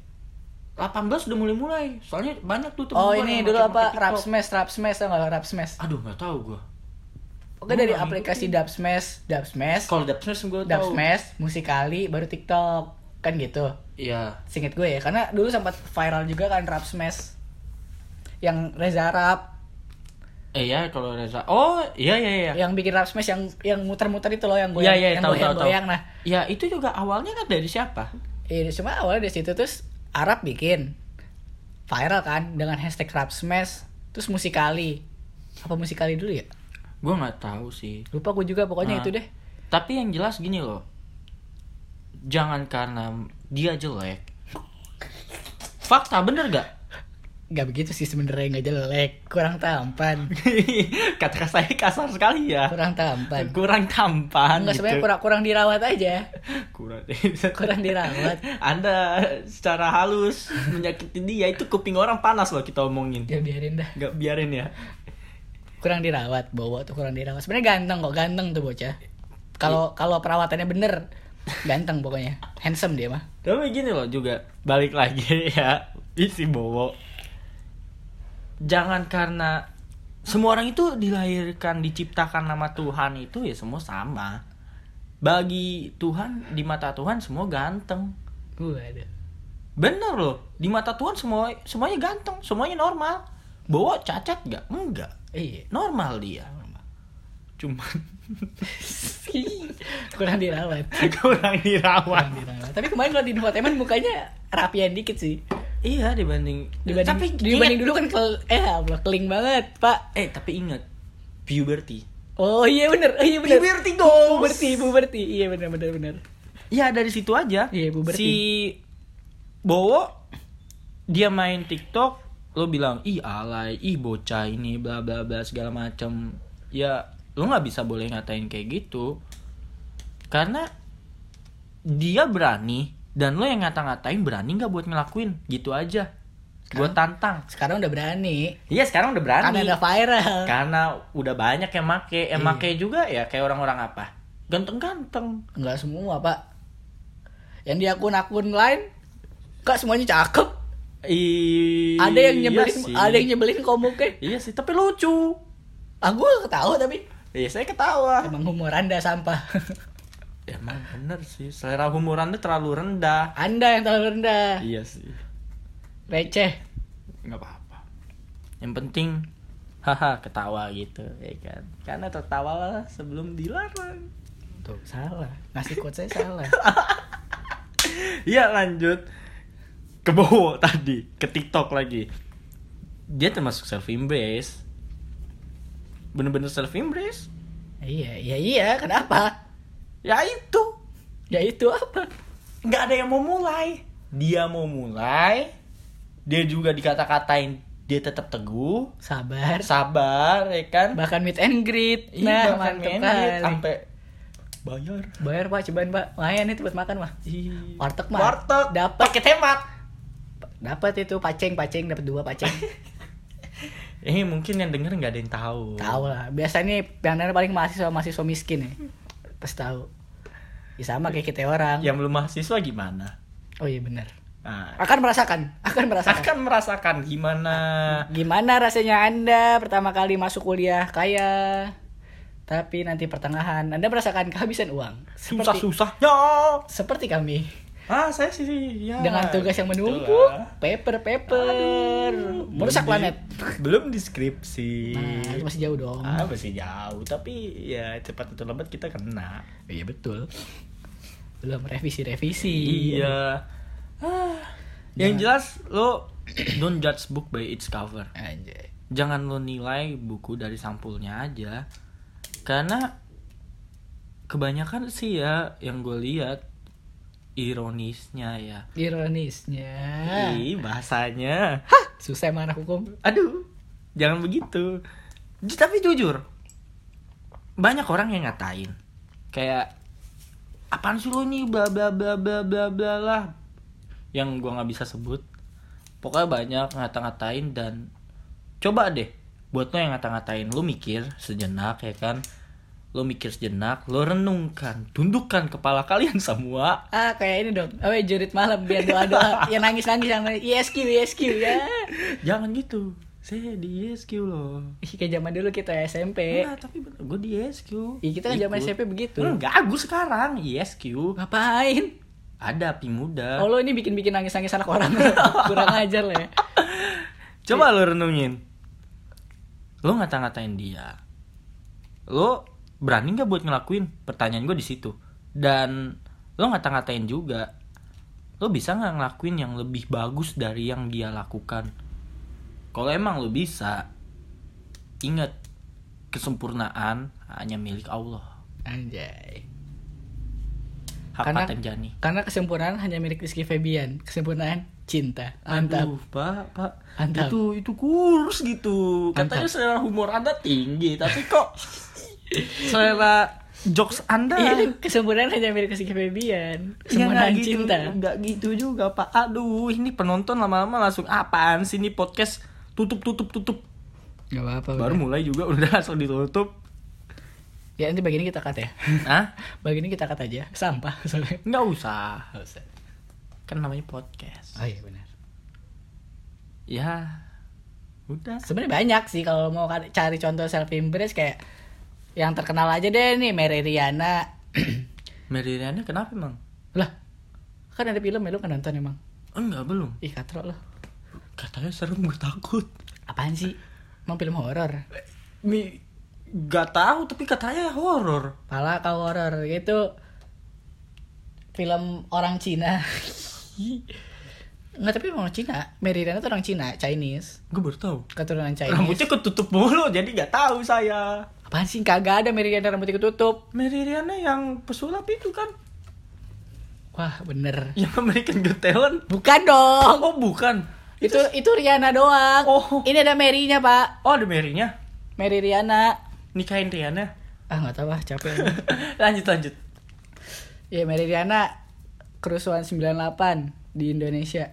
[SPEAKER 1] 18 udah mulai mulai soalnya banyak tuh temen
[SPEAKER 2] oh
[SPEAKER 1] gua
[SPEAKER 2] ini
[SPEAKER 1] yang
[SPEAKER 2] dulu
[SPEAKER 1] pakai-
[SPEAKER 2] apa
[SPEAKER 1] pakai
[SPEAKER 2] rap
[SPEAKER 1] TikTok.
[SPEAKER 2] smash rap smash tau gak lo rap smash
[SPEAKER 1] aduh nggak tahu gue Gua
[SPEAKER 2] Oke dari
[SPEAKER 1] nggak
[SPEAKER 2] aplikasi Dub Smash, Dub Smash,
[SPEAKER 1] Oh, kalau dapet smash gue
[SPEAKER 2] Dub
[SPEAKER 1] tahu
[SPEAKER 2] Smash, Musikali, baru TikTok kan gitu.
[SPEAKER 1] iya
[SPEAKER 2] Singkat gue ya, karena dulu sempat viral juga kan Rap Smash yang Reza Arab
[SPEAKER 1] eh ya kalau Reza oh iya iya iya
[SPEAKER 2] yang bikin Rap Smash yang yang muter-muter itu loh yang gue
[SPEAKER 1] Iya, iya,
[SPEAKER 2] yang
[SPEAKER 1] tahu, tahu,
[SPEAKER 2] goyang,
[SPEAKER 1] tahu.
[SPEAKER 2] goyang nah.
[SPEAKER 1] ya itu juga awalnya kan dari siapa
[SPEAKER 2] Iya, cuma awalnya dari situ terus Arab bikin viral kan dengan hashtag Rap Smash, terus Musikali. Apa Musikali dulu ya?
[SPEAKER 1] gue nggak tahu sih
[SPEAKER 2] Lupa gue juga pokoknya
[SPEAKER 1] Nah.
[SPEAKER 2] itu deh.
[SPEAKER 1] Tapi yang jelas gini loh. Jangan karena dia jelek. Fakta bener gak?
[SPEAKER 2] Gak begitu sih sebenarnya nggak jelek, kurang tampan,
[SPEAKER 1] Kata saya kasar sekali ya.
[SPEAKER 2] kurang tampan.
[SPEAKER 1] Kurang tampan
[SPEAKER 2] Enggak
[SPEAKER 1] gitu.
[SPEAKER 2] sebenarnya kurang kurang dirawat aja.
[SPEAKER 1] Kurang.
[SPEAKER 2] Kurang dirawat.
[SPEAKER 1] Anda secara halus menyakiti dia itu kuping orang panas loh kita omongin.
[SPEAKER 2] Ya biarin dah.
[SPEAKER 1] Gak biarin ya.
[SPEAKER 2] Kurang dirawat, bawa tuh kurang dirawat. Sebenarnya ganteng kok, ganteng tuh bocah. Kalau kalau perawatannya bener, ganteng pokoknya. Handsome dia mah.
[SPEAKER 1] Tapi gini loh juga balik lagi ya isi bowo. Jangan karena semua orang itu dilahirkan diciptakan nama Tuhan itu ya semua sama. Bagi Tuhan di mata Tuhan semua ganteng.
[SPEAKER 2] Waduh.
[SPEAKER 1] Bener loh di mata Tuhan semua semuanya ganteng semuanya normal. Bowo cacat gak? Enggak
[SPEAKER 2] Iya.
[SPEAKER 1] normal dia. cuman
[SPEAKER 2] kurang dirawat
[SPEAKER 1] kurang dirawat
[SPEAKER 2] kurang dirawat tapi kemarin kalau di infotainment mukanya rapian dikit sih
[SPEAKER 1] iya dibanding,
[SPEAKER 2] dibanding
[SPEAKER 1] tapi
[SPEAKER 2] dibanding
[SPEAKER 1] ingat-
[SPEAKER 2] dulu kan kel eh Allah, keling banget pak
[SPEAKER 1] eh tapi ingat puberty
[SPEAKER 2] oh iya bener oh, iya bener
[SPEAKER 1] Puberty goals.
[SPEAKER 2] puberti puberti iya bener bener bener
[SPEAKER 1] ya dari situ aja
[SPEAKER 2] Iya, puberty.
[SPEAKER 1] si Bowo dia main TikTok lo bilang ih alay ih bocah ini bla bla bla segala macam ya lo nggak bisa boleh ngatain kayak gitu karena dia berani dan lo yang ngata-ngatain berani nggak buat ngelakuin gitu aja gue tantang
[SPEAKER 2] sekarang udah berani
[SPEAKER 1] iya sekarang udah berani
[SPEAKER 2] karena udah viral
[SPEAKER 1] karena udah banyak yang make yang make juga ya kayak orang-orang apa ganteng-ganteng
[SPEAKER 2] nggak semua pak yang di akun-akun lain kak semuanya cakep
[SPEAKER 1] I-
[SPEAKER 2] ada yang nyebelin
[SPEAKER 1] iya sih.
[SPEAKER 2] ada yang nyebelin Ah, komuknya
[SPEAKER 1] Iya sih, tapi lucu.
[SPEAKER 2] aku ketawa tapi
[SPEAKER 1] Iya, saya ketawa.
[SPEAKER 2] emang humor anda sampah
[SPEAKER 1] Emang bener sih, selera humor Anda terlalu rendah.
[SPEAKER 2] anda yang terlalu rendah
[SPEAKER 1] Iya sih,
[SPEAKER 2] receh
[SPEAKER 1] nggak apa-apa. Yang penting, haha ketawa gitu, ya kan? Karena tertawa sebelum dilarang.
[SPEAKER 2] tuh salah ngasih quote saya salah
[SPEAKER 1] Iya lanjut ke Bowo tadi, ke TikTok lagi. Dia termasuk self embrace. Bener-bener self embrace?
[SPEAKER 2] iya iya iya kenapa
[SPEAKER 1] Ya itu,
[SPEAKER 2] ya itu apa
[SPEAKER 1] nggak ada yang mau mulai dia mau mulai dia juga dikata-katain dia tetap teguh
[SPEAKER 2] sabar
[SPEAKER 1] sabar ya kan
[SPEAKER 2] bahkan meet and greet
[SPEAKER 1] Ih, Iya, bahkan
[SPEAKER 2] nah mantep
[SPEAKER 1] ngedit
[SPEAKER 2] kali.
[SPEAKER 1] sampai bayar
[SPEAKER 2] bayar pak cobaan pak layan itu buat makan mah
[SPEAKER 1] Ih,
[SPEAKER 2] Warteg, Mak.
[SPEAKER 1] Iya. warteg
[SPEAKER 2] Dapat.
[SPEAKER 1] pakai hemat
[SPEAKER 2] dapat itu paceng paceng dapat dua paceng
[SPEAKER 1] eh mungkin yang denger nggak ada yang tahu
[SPEAKER 2] Tahu lah. Biasanya yang nanya paling mahasiswa mahasiswa miskin ya. Pas tahu. Ya sama kayak kita orang.
[SPEAKER 1] yang belum mahasiswa gimana
[SPEAKER 2] Oh iya benar.
[SPEAKER 1] nah,
[SPEAKER 2] Akan merasakan, akan merasakan.
[SPEAKER 1] akan merasakan gimana
[SPEAKER 2] Gimana rasanya Anda pertama kali masuk kuliah kaya tapi nanti pertengahan Anda merasakan kehabisan uang.
[SPEAKER 1] susah
[SPEAKER 2] Seperti
[SPEAKER 1] susahnya
[SPEAKER 2] seperti kami
[SPEAKER 1] ah saya sih ya
[SPEAKER 2] dengan tugas yang
[SPEAKER 1] gitu lah.
[SPEAKER 2] menumpuk, paper-paper, merusak
[SPEAKER 1] Belum di-
[SPEAKER 2] planet.
[SPEAKER 1] belum deskripsi
[SPEAKER 2] Nah, itu masih jauh dong.
[SPEAKER 1] Ah, masih jauh, tapi ya cepat atau lambat kita kena.
[SPEAKER 2] Iya betul. Belum revisi-revisi.
[SPEAKER 1] Iya. Ah,
[SPEAKER 2] Ya.
[SPEAKER 1] yang jelas lo don't judge book by its cover.
[SPEAKER 2] Anjay.
[SPEAKER 1] Jangan lo nilai buku dari sampulnya aja. Karena kebanyakan sih ya yang gue lihat ironisnya ya.
[SPEAKER 2] Ironisnya.
[SPEAKER 1] Ih, bahasanya.
[SPEAKER 2] Susah emang anak hukum.
[SPEAKER 1] Aduh, jangan begitu. Ju- Tapi jujur, banyak orang yang ngatain kayak apaan sih lo nih bla bla bla bla bla bla lah yang gua nggak bisa sebut. Pokoknya banyak ngata-ngatain dan coba deh buat lo yang ngata-ngatain lo mikir sejenak ya kan lo mikir sejenak lo renungkan tundukkan kepala kalian semua
[SPEAKER 2] Ah kayak ini dong. Awe jurit malam biar doa doa. ya nangis nangis yang nangis. ISQ ISQ ya.
[SPEAKER 1] jangan gitu saya di SQ loh
[SPEAKER 2] Ih, Kayak zaman dulu kita ya, SMP.
[SPEAKER 1] Enggak, tapi bener. Gue di ISQ.
[SPEAKER 2] Iya Eh. kita kan zaman
[SPEAKER 1] Ikut.
[SPEAKER 2] SMP begitu.
[SPEAKER 1] Enggak, gue sekarang ISQ.
[SPEAKER 2] Ngapain?
[SPEAKER 1] Ada api muda.
[SPEAKER 2] Oh lo ini bikin bikin nangis nangis anak orang. Kurang ajar lah ya.
[SPEAKER 1] Coba lo renungin. Lo ngata-ngatain dia. Lo berani nggak buat ngelakuin? Pertanyaan gue di situ. Dan lo ngata-ngatain juga. Lo bisa nggak ngelakuin yang lebih bagus dari yang dia lakukan? Kalau emang lo bisa, ingat kesempurnaan hanya milik Allah.
[SPEAKER 2] Anjay. Karena-
[SPEAKER 1] Hapatem Jani.
[SPEAKER 2] Karena kesempurnaan hanya milik Rizky Febian. Kesempurnaan cinta. Mantap.
[SPEAKER 1] Aduh, Pak, Pak.
[SPEAKER 2] Mantap.
[SPEAKER 1] Itu itu kurus gitu. Katanya
[SPEAKER 2] Mantap.
[SPEAKER 1] selera humor Anda tinggi, tapi kok selera jokes Anda
[SPEAKER 2] Iya, kesempurnaan hanya milik Rizky Febian.
[SPEAKER 1] Ya, nggak
[SPEAKER 2] Kesempurnaan
[SPEAKER 1] gitu,
[SPEAKER 2] cinta.
[SPEAKER 1] nggak gitu juga, Pak. Aduh, ini penonton lama-lama langsung apaan sih ini podcast tutup tutup tutup.
[SPEAKER 2] Gak apa-apa.
[SPEAKER 1] Baru mulai juga udah langsung ditutup.
[SPEAKER 2] Ya nanti bagian ini kita cut ya.
[SPEAKER 1] Hah?
[SPEAKER 2] bagian ini kita cut aja. Sampah soalnya.
[SPEAKER 1] Nggak usah. Kan namanya podcast.
[SPEAKER 2] Oh iya benar.
[SPEAKER 1] Ya. Udah.
[SPEAKER 2] Sebenarnya banyak sih kalau mau ka- cari contoh self embrace kayak yang terkenal aja deh nih Mary Riana.
[SPEAKER 1] Meridiannya kenapa, Mang?
[SPEAKER 2] lah, kan ada film ya lu kan nonton emang.
[SPEAKER 1] Enggak, belum.
[SPEAKER 2] Ih katro lo.
[SPEAKER 1] Katanya serem gue takut.
[SPEAKER 2] Apaan sih? Emang film horor.
[SPEAKER 1] Mi Gak tahu tapi katanya horor.
[SPEAKER 2] Pala kau horor itu film orang Cina. Nggak tapi emang orang Cina. Merirana tuh orang Cina, Chinese.
[SPEAKER 1] Gue baru tahu.
[SPEAKER 2] Keturunan Chinese.
[SPEAKER 1] Rambutnya ketutup mulu jadi gak tahu saya.
[SPEAKER 2] Apaan sih kagak ada Merirana rambutnya ketutup.
[SPEAKER 1] Meridiana yang pesulap itu kan
[SPEAKER 2] Wah, bener.
[SPEAKER 1] yang American Got Talent.
[SPEAKER 2] Bukan dong.
[SPEAKER 1] Oh bukan.
[SPEAKER 2] Itu itu Riana doang.
[SPEAKER 1] Oh.
[SPEAKER 2] Ini ada Merinya, Pak.
[SPEAKER 1] Oh ada Mary-nya.
[SPEAKER 2] Mary Riana.
[SPEAKER 1] Nikahin Riana.
[SPEAKER 2] Ah, nggak tahu lah, capek. ini.
[SPEAKER 1] lanjut lanjut.
[SPEAKER 2] ya, Mary Riana kerusuhan 98 di Indonesia.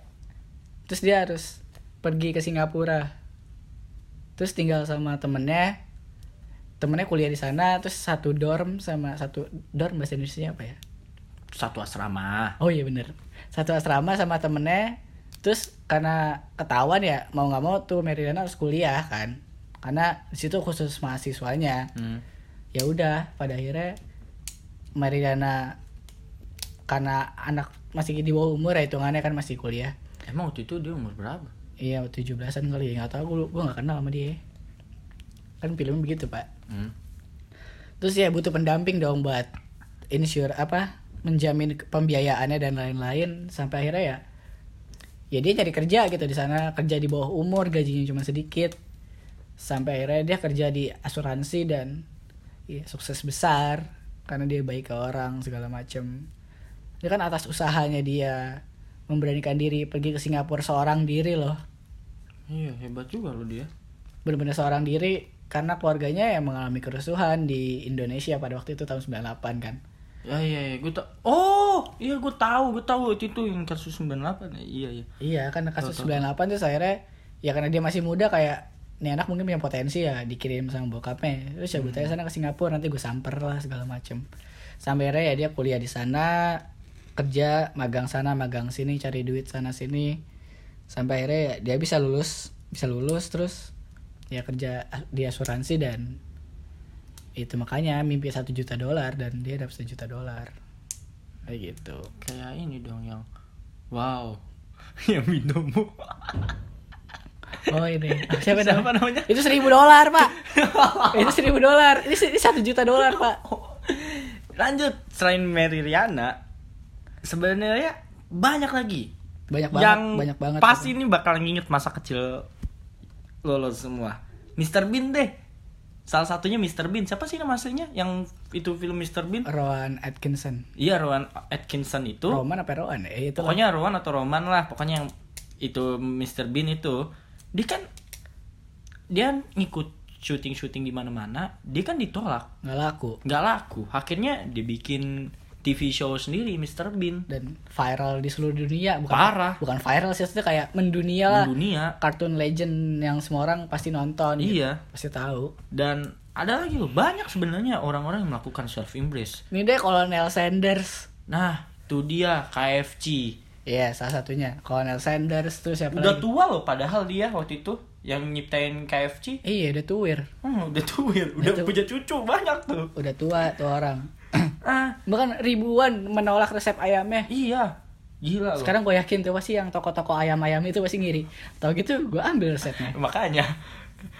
[SPEAKER 2] Terus dia harus pergi ke Singapura. Terus tinggal sama temennya. Temennya kuliah di sana, terus satu dorm sama satu dorm bahasa Indonesia apa ya?
[SPEAKER 1] Satu asrama.
[SPEAKER 2] Oh iya bener Satu asrama sama temennya Terus karena ketahuan ya Mau nggak mau tuh Meridiana harus kuliah kan Karena disitu khusus mahasiswanya
[SPEAKER 1] Hmm.
[SPEAKER 2] ya udah pada akhirnya Meridiana karena anak masih di bawah umur ya hitungannya kan masih kuliah
[SPEAKER 1] Emang waktu itu dia umur berapa?
[SPEAKER 2] iya 17-an kali ya nggak tahu gue gue nggak kenal sama dia kan film begitu pak
[SPEAKER 1] Hmm.
[SPEAKER 2] terus ya butuh pendamping dong buat insure apa menjamin ke- pembiayaannya dan lain-lain sampai akhirnya ya ya dia cari kerja gitu di sana kerja di bawah umur gajinya cuma sedikit sampai akhirnya dia kerja di asuransi dan ya, sukses besar karena dia baik ke orang segala macem dia kan atas usahanya dia memberanikan diri pergi ke Singapura seorang diri loh
[SPEAKER 1] Iya hebat juga lo dia.
[SPEAKER 2] benar-benar seorang diri karena keluarganya yang mengalami kerusuhan di Indonesia pada waktu itu tahun 98 kan.
[SPEAKER 1] Ya iya iya gue tau. Oh iya gue tahu gue tahu waktu itu yang kasus 98 ya. Iya iya.
[SPEAKER 2] Iya, kan kasus 98 terus akhirnya ya karena dia masih muda kayak nih anak mungkin punya potensi ya dikirim sama bokapnya. Terus cabut aja sana ke Singapura nanti gue samper lah segala macem. Sampai akhirnya ya dia kuliah di sana, kerja magang sana magang sini cari duit sana sini. Sampai akhirnya ya dia bisa lulus, bisa lulus terus ya kerja di asuransi dan itu makanya mimpi satu juta dolar dan dia dapat satu juta dolar kayak gitu
[SPEAKER 1] Kayak ini dong yang wow yang binomo.
[SPEAKER 2] oh ini siapa
[SPEAKER 1] Siapa namanya?
[SPEAKER 2] namanya? Itu seribu dolar pak. itu seribu dolar. Ini se- ini satu juta dolar pak.
[SPEAKER 1] Lanjut selain Mary Riana sebenarnya banyak lagi
[SPEAKER 2] Banyak banget.
[SPEAKER 1] yang
[SPEAKER 2] banyak banget.
[SPEAKER 1] pas ini bakal nginget masa kecil lo lo semua Mr. Bean deh salah satunya Mr. Bean siapa sih nama aslinya yang itu film Mr. Bean
[SPEAKER 2] Rowan Atkinson.
[SPEAKER 1] iya Rowan Atkinson itu
[SPEAKER 2] Roman apa Rowan? Eh itu.
[SPEAKER 1] pokoknya Rowan atau Roman lah pokoknya yang itu Mr. Bean itu dia kan dia ngikut syuting syuting di mana mana dia kan ditolak
[SPEAKER 2] nggak laku
[SPEAKER 1] nggak laku akhirnya dia bikin TV show sendiri Mr. Bean
[SPEAKER 2] dan viral di seluruh dunia. Bukan,
[SPEAKER 1] Parah.
[SPEAKER 2] Bukan viral sih, maksudnya kayak mendunia lah.
[SPEAKER 1] dunia
[SPEAKER 2] Kartun legend yang semua orang pasti nonton. gitu.
[SPEAKER 1] iya
[SPEAKER 2] Pasti tahu.
[SPEAKER 1] dan ada lagi loh banyak sebenarnya orang-orang yang melakukan self embrace
[SPEAKER 2] Ini deh Colonel Sanders.
[SPEAKER 1] nah itu dia KFC
[SPEAKER 2] Iya, salah satunya. Colonel Sanders tuh siapa
[SPEAKER 1] udah
[SPEAKER 2] lagi?
[SPEAKER 1] tua loh padahal dia waktu itu yang nyiptain KFC
[SPEAKER 2] Iya, udah tuwir.
[SPEAKER 1] hmm, udah tua udah
[SPEAKER 2] Udah tua.
[SPEAKER 1] punya cucu banyak tuh
[SPEAKER 2] Udah tua tuh orang.
[SPEAKER 1] ah
[SPEAKER 2] Bahkan ribuan menolak resep ayamnya.
[SPEAKER 1] iya gila loh
[SPEAKER 2] Sekarang gue yakin tuh pasti yang toko-toko ayam-ayam itu pasti ngiri. Tau gitu gue ambil resepnya.
[SPEAKER 1] makanya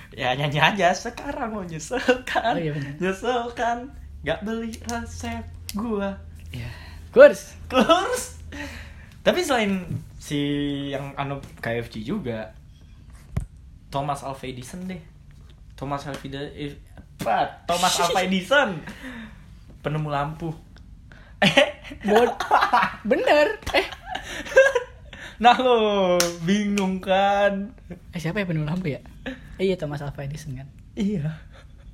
[SPEAKER 1] ya nyanyi aja sekarang mau nyeselkan
[SPEAKER 2] Oh, iya bener.
[SPEAKER 1] nyeselkan nggak beli resep gua
[SPEAKER 2] Ya. Kurs.
[SPEAKER 1] kurs tapi selain si yang anu KFC juga Thomas Alva Edison deh Thomas Alva Edison eh, apa Thomas Alva Edison penemu lampu
[SPEAKER 2] Bod. Bener. Eh.
[SPEAKER 1] nah lo bingung kan
[SPEAKER 2] eh, siapa yang penuh lampu ya? Eh, iya Thomas Alva Edison kan.
[SPEAKER 1] iya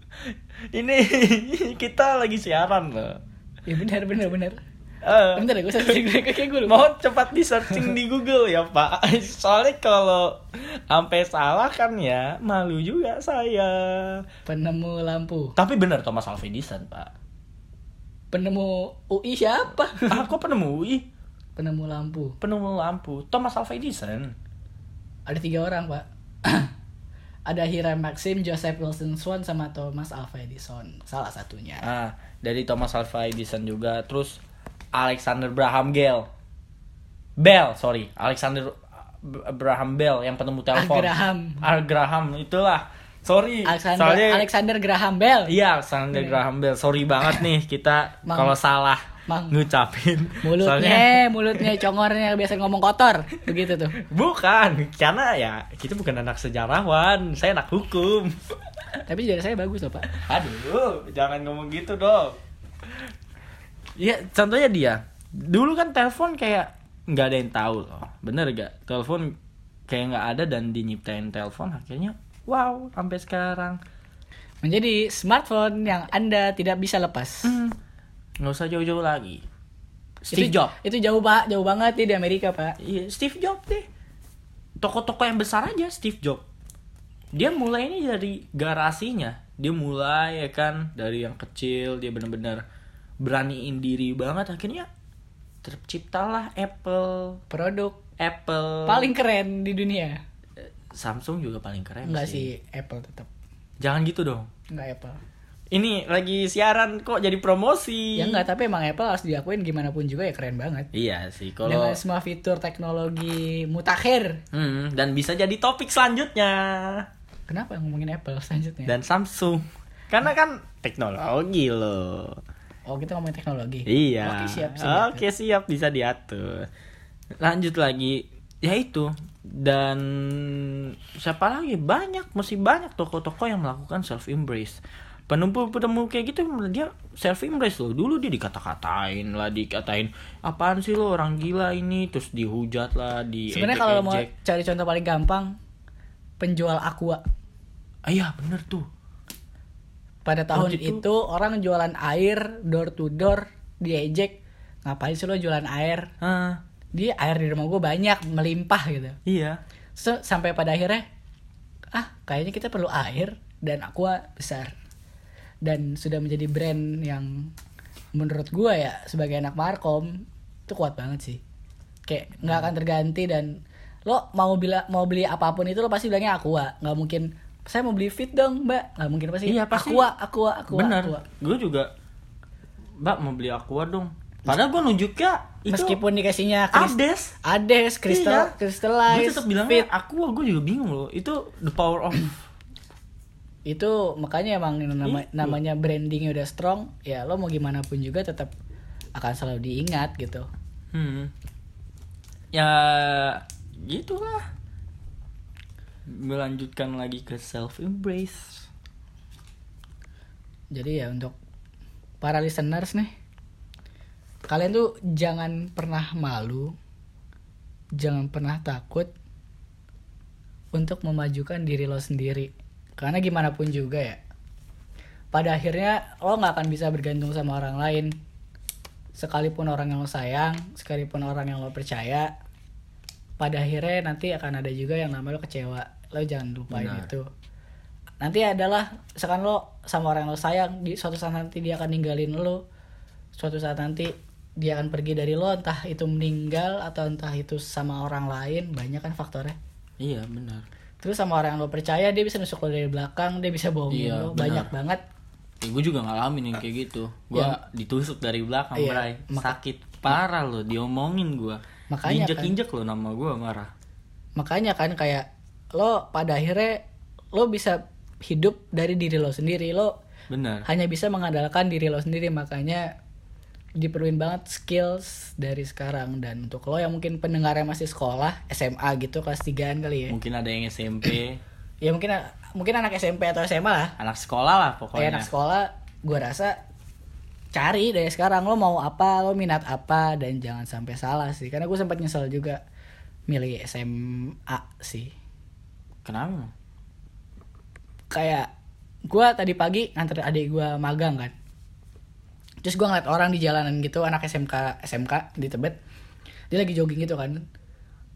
[SPEAKER 1] ini kita lagi siaran loh
[SPEAKER 2] Ya bener bener bener.
[SPEAKER 1] Eh,
[SPEAKER 2] Bentar ya gue satu kayak gue lupa.
[SPEAKER 1] mau cepat di searching di Google ya Pak. Soalnya kalau sampai salah kan ya malu juga saya.
[SPEAKER 2] Penemu lampu.
[SPEAKER 1] Tapi bener Thomas Alva Edison Pak.
[SPEAKER 2] Penemu UI siapa?
[SPEAKER 1] Aku penemu UI,
[SPEAKER 2] Penemu lampu.
[SPEAKER 1] penemu lampu Thomas Alva Edison.
[SPEAKER 2] Ada tiga orang pak. Ada Hiram Maxim, Joseph Wilson Swan, sama Thomas Alva Edison. Salah satunya.
[SPEAKER 1] Ah, dari Thomas Alva Edison juga terus Alexander Graham Bell. Bell, sorry, eh, Alexander Graham Bell yang penemu telepon.
[SPEAKER 2] Graham.
[SPEAKER 1] Al Graham itulah Sorry.
[SPEAKER 2] Alexander
[SPEAKER 1] Soalnya
[SPEAKER 2] Alexander Graham Bell.
[SPEAKER 1] iya Alexander Graham Bell. Sorry banget nih kita
[SPEAKER 2] Mang.
[SPEAKER 1] kalau salah
[SPEAKER 2] Mang.
[SPEAKER 1] ngucapin. Soalnya
[SPEAKER 2] Mulutnya, eh, mulutnya, congornya biasa ngomong kotor, begitu tuh.
[SPEAKER 1] bukan karena ya kita bukan anak sejarawan, saya anak hukum.
[SPEAKER 2] Tapi jari saya bagus loh pak.
[SPEAKER 1] Aduh, jangan ngomong gitu dong. Iya, contohnya dia. Dulu kan telepon kayak nggak ada yang tahu loh. Bener gak? Telepon kayak nggak ada dan dinyiptain telepon akhirnya wow sampai sekarang.
[SPEAKER 2] Menjadi smartphone yang anda tidak bisa lepas.
[SPEAKER 1] Hmm, nggak usah jauh-jauh lagi. Steve
[SPEAKER 2] itu,
[SPEAKER 1] Jobs.
[SPEAKER 2] Itu jauh pak, jauh banget nih di Amerika pak.
[SPEAKER 1] Iya, Steve Jobs deh. Toko-toko yang besar aja Steve Jobs. Dia mulai ini dari garasinya. Dia mulai ya kan dari yang kecil dia benar-benar beraniin diri banget akhirnya terciptalah Apple
[SPEAKER 2] Produk
[SPEAKER 1] Apple
[SPEAKER 2] paling keren di dunia.
[SPEAKER 1] Samsung juga paling keren
[SPEAKER 2] Enggak
[SPEAKER 1] Iya sih.
[SPEAKER 2] sih, Apple tetap.
[SPEAKER 1] Jangan gitu dong.
[SPEAKER 2] Enggak Apple.
[SPEAKER 1] Ini lagi siaran kok jadi promosi.
[SPEAKER 2] Ya enggak, tapi emang Apple harus diakuin gimana pun juga ya keren banget.
[SPEAKER 1] Iya sih kalau
[SPEAKER 2] Dengan semua fitur teknologi mutakhir.
[SPEAKER 1] Hmm, dan bisa jadi topik selanjutnya.
[SPEAKER 2] Kenapa ngomongin Apple selanjutnya?
[SPEAKER 1] dan Samsung. Karena kan teknologi loh.
[SPEAKER 2] Oh, kita ngomongin teknologi.
[SPEAKER 1] Iya.
[SPEAKER 2] Oke, siap. siap.
[SPEAKER 1] Oke, siap, bisa diatur. Lanjut lagi. Ya itu. Dan siapa lagi? Banyak, masih banyak toko-toko yang melakukan self embrace. Penemu-penemu kayak gitu dia self embrace loh. Dulu dia dikata-katain lah, dikatain apaan sih lo orang gila ini, terus dihujat lah, di
[SPEAKER 2] Sebenarnya kalau mau cari contoh paling gampang penjual aqua
[SPEAKER 1] Iya, bener tuh.
[SPEAKER 2] pada tahun
[SPEAKER 1] Waktu itu-
[SPEAKER 2] itu orang jualan air door to door diejek ngapain sih lo jualan air
[SPEAKER 1] Ah,
[SPEAKER 2] di air di rumah gue banyak melimpah gitu
[SPEAKER 1] iya.
[SPEAKER 2] so, sampai pada akhirnya ah kayaknya kita perlu air dan aqua besar dan sudah menjadi brand yang menurut gue ya sebagai anak markom itu kuat banget sih kayak nggak akan terganti dan lo mau bila mau beli apapun itu lo pasti bilangnya aqua nggak mungkin saya mau beli fit dong mbak nggak mungkin pasti
[SPEAKER 1] Iya, pasti.
[SPEAKER 2] aqua aqua aqua
[SPEAKER 1] Bener,
[SPEAKER 2] aqua
[SPEAKER 1] gue juga Mbak mau beli aqua dong Padahal gue nunjuknya itu
[SPEAKER 2] meskipun dikasihnya kris-
[SPEAKER 1] Ades
[SPEAKER 2] ades
[SPEAKER 1] Iya.
[SPEAKER 2] kristal
[SPEAKER 1] Gue
[SPEAKER 2] crystallize
[SPEAKER 1] tetep bilangnya aqua, gue juga bingung loh Itu the power of
[SPEAKER 2] itu makanya emang nama-
[SPEAKER 1] Itu.
[SPEAKER 2] namanya brandingnya udah strong ya lo mau gimana pun juga tetap akan selalu diingat gitu
[SPEAKER 1] hmm. Ya gitulah Melanjutkan lagi ke self embrace
[SPEAKER 2] jadi ya untuk para listeners nih kalian tuh jangan pernah malu jangan pernah takut untuk memajukan diri lo sendiri karena gimana pun juga ya pada akhirnya lo nggak akan bisa bergantung sama orang lain sekalipun orang yang lo sayang sekalipun orang yang lo percaya pada akhirnya nanti akan ada juga yang namanya lo kecewa lo jangan lupain
[SPEAKER 1] Benar.
[SPEAKER 2] itu nanti adalah misalkan lo sama orang yang lo sayang di suatu saat nanti dia akan ninggalin lo suatu saat nanti dia akan pergi dari lo entah itu meninggal atau entah itu sama orang lain banyak kan faktornya
[SPEAKER 1] Iya benar
[SPEAKER 2] terus sama orang yang lo percaya dia bisa nusuk lo dari belakang dia bisa bohongin
[SPEAKER 1] Iya,
[SPEAKER 2] lo
[SPEAKER 1] benar.
[SPEAKER 2] banyak banget
[SPEAKER 1] ya, Gue juga ngalamin yang kayak gitu Gue ditusuk dari belakang
[SPEAKER 2] Iya,
[SPEAKER 1] Bray.
[SPEAKER 2] maka-
[SPEAKER 1] Sakit parah loh diomongin gue
[SPEAKER 2] Makanya kan.
[SPEAKER 1] Injek-injek loh nama gue marah
[SPEAKER 2] makanya kan kayak lo pada akhirnya lo bisa hidup dari diri lo sendiri lo
[SPEAKER 1] Benar
[SPEAKER 2] hanya bisa mengandalkan diri lo sendiri makanya diperluin banget skills dari sekarang dan untuk lo yang mungkin pendengarnya masih sekolah SMA gitu kelas 3an kali ya
[SPEAKER 1] mungkin ada yang SMP
[SPEAKER 2] ya mungkin mungkin anak SMP atau SMA lah
[SPEAKER 1] anak sekolah lah
[SPEAKER 2] kayak
[SPEAKER 1] pokoknya
[SPEAKER 2] Eh, anak sekolah gue rasa cari dari sekarang lo mau apa lo minat apa dan jangan sampai salah sih karena gue sempat nyesel juga milih SMA sih
[SPEAKER 1] kenapa
[SPEAKER 2] kayak gue tadi pagi nganter adik gue magang kan terus gue ngeliat orang di jalanan gitu anak SMK SMK di Tebet dia lagi jogging gitu kan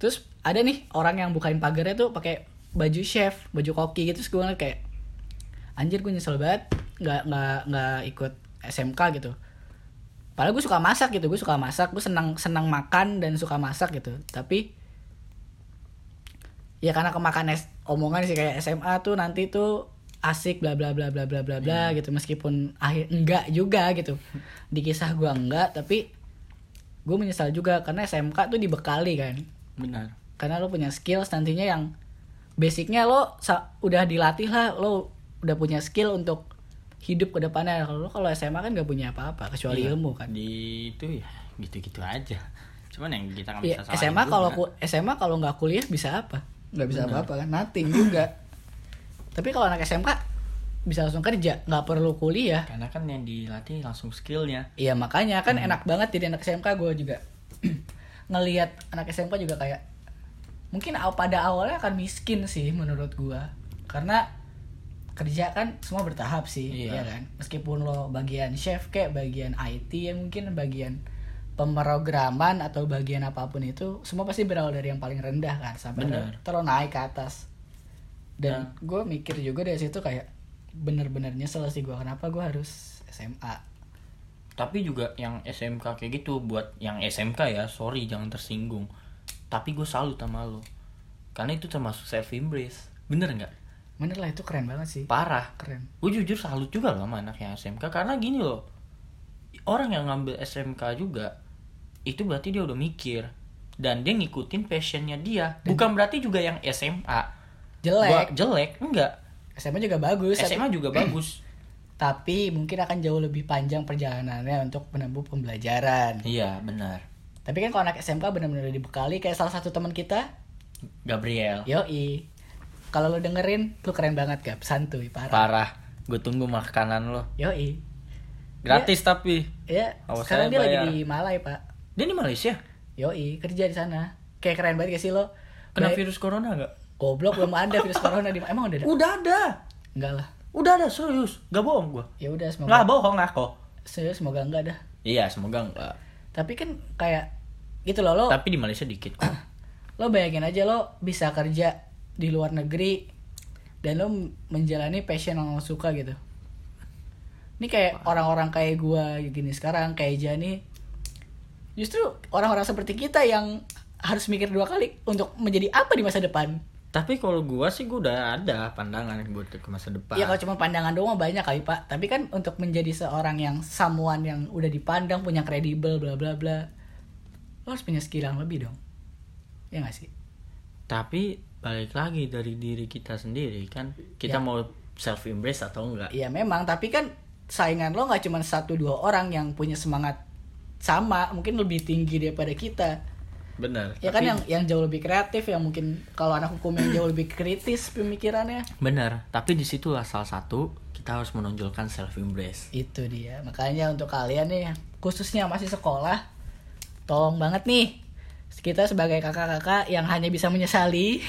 [SPEAKER 2] terus ada nih orang yang bukain pagarnya tuh pakai baju chef baju koki gitu terus gue ngeliat kayak anjir gue nyesel banget nggak nggak nggak ikut SMK gitu padahal gue suka masak gitu gue suka masak gue senang senang makan dan suka masak gitu tapi ya karena kemakan es- omongan sih kayak SMA tuh nanti tuh asik bla bla bla bla bla bla bla gitu meskipun akhir enggak juga gitu di kisah gua enggak tapi gue menyesal juga karena SMK tuh dibekali kan
[SPEAKER 1] benar
[SPEAKER 2] karena lo punya skills nantinya yang basicnya lo sa- udah dilatih lah lo udah punya skill untuk hidup ke depannya kalau lo kalau SMA kan gak punya apa-apa kecuali
[SPEAKER 1] Iya,
[SPEAKER 2] ilmu kan
[SPEAKER 1] Di itu ya gitu-gitu aja. Cuman yang kita nggak
[SPEAKER 2] Iya,
[SPEAKER 1] bisa salahin
[SPEAKER 2] SMA kalau
[SPEAKER 1] juga.
[SPEAKER 2] ku- SMA kalau nggak kuliah bisa apa? Nggak bisa apa-apa kan? Nothing juga. Tapi kalau anak SMK bisa langsung kerja, nggak perlu kuliah.
[SPEAKER 1] karena kan yang dilatih langsung skillnya.
[SPEAKER 2] Iya makanya kan enak banget jadi anak SMK gue juga ngelihat anak SMK juga kayak mungkin aw- pada awalnya akan miskin sih menurut gue karena kerja kan semua bertahap sih
[SPEAKER 1] Iya.
[SPEAKER 2] ya kan meskipun lo bagian chef kayak bagian IT ya mungkin bagian pemrograman atau bagian apapun itu semua pasti berawal dari yang paling rendah kan sampai
[SPEAKER 1] Bener.
[SPEAKER 2] ter- terus naik ke atas dan gue mikir juga dari situ kayak bener-bener nyesel sih gue kenapa gue harus SMA
[SPEAKER 1] Tapi juga yang SMK kayak gitu buat yang SMK ya, sorry jangan tersinggung. Tapi gue salut sama lo. Karena itu termasuk self embrace. Bener nggak?
[SPEAKER 2] Bener lah itu keren banget sih.
[SPEAKER 1] Parah.
[SPEAKER 2] Keren.
[SPEAKER 1] Gue jujur salut juga loh sama anak yang SMK karena gini loh. Orang yang ngambil SMK juga itu berarti dia udah mikir dan dia ngikutin passionnya dia. Bukan berarti juga yang SMA Gua
[SPEAKER 2] Jelek.
[SPEAKER 1] jelek enggak
[SPEAKER 2] SMA juga bagus. tapi-
[SPEAKER 1] SMA juga bagus
[SPEAKER 2] Tapi mungkin akan jauh lebih panjang perjalanannya untuk menempuh pembelajaran.
[SPEAKER 1] iya benar
[SPEAKER 2] Tapi kan kalau anak SMK benar-benar dibekali kayak salah satu teman kita,
[SPEAKER 1] Gabriel
[SPEAKER 2] yoi. Kalau lo dengerin, lu keren banget gap, santuy parah.
[SPEAKER 1] parah gue tunggu makanan lo
[SPEAKER 2] Yoi.
[SPEAKER 1] gratis tapi
[SPEAKER 2] Ya,
[SPEAKER 1] Awas
[SPEAKER 2] sekarang
[SPEAKER 1] saya
[SPEAKER 2] dia lagi
[SPEAKER 1] bayar.
[SPEAKER 2] di Malai, Pak.
[SPEAKER 1] dia di Malaysia
[SPEAKER 2] Yoi, kerja di sana. Kayak keren banget gak sih lo?
[SPEAKER 1] kena
[SPEAKER 2] Bay-
[SPEAKER 1] virus corona nggak
[SPEAKER 2] Goblok belum ada virus corona di Emang udah ada?
[SPEAKER 1] udah ada
[SPEAKER 2] Enggak lah.
[SPEAKER 1] udah ada serius gak bohong gue
[SPEAKER 2] Ya udah semoga
[SPEAKER 1] nggak bohong aku
[SPEAKER 2] serius semoga enggak dah.
[SPEAKER 1] iya semoga enggak
[SPEAKER 2] tapi kan kayak gitu loh lo
[SPEAKER 1] tapi di Malaysia dikit kok
[SPEAKER 2] lo bayangin aja lo bisa kerja di luar negeri dan lo m- menjalani passion yang lo suka gitu ini kayak orang-orang kayak gua gini sekarang kayak Jani justru orang-orang seperti kita yang harus mikir dua kali untuk menjadi apa di masa depan
[SPEAKER 1] tapi kalau gua sih gua udah ada pandangan buat ke masa depan
[SPEAKER 2] Iya kalau cuma pandangan doang mah banyak kali pak. Tapi kan untuk menjadi seorang yang someone yang udah dipandang punya kredibel bla bla bla, lo harus punya skill yang lebih dong. Ya nggak sih?
[SPEAKER 1] tapi balik lagi dari diri kita sendiri kan kita
[SPEAKER 2] Iya.
[SPEAKER 1] mau self embrace atau enggak
[SPEAKER 2] Iya memang, tapi kan saingan lo nggak cuma satu dua orang yang punya semangat sama, mungkin lebih tinggi daripada kita.
[SPEAKER 1] benar
[SPEAKER 2] Ya kan yang yang jauh lebih kreatif, yang mungkin kalau anak hukum yang jauh lebih kritis pemikirannya.
[SPEAKER 1] Benar, tapi disitulah salah satu kita harus menonjolkan self embrace.
[SPEAKER 2] Itu dia. Makanya untuk kalian nih, khususnya yang masih sekolah, tolong banget nih. Kita sebagai kakak-kakak yang hanya bisa menyesali.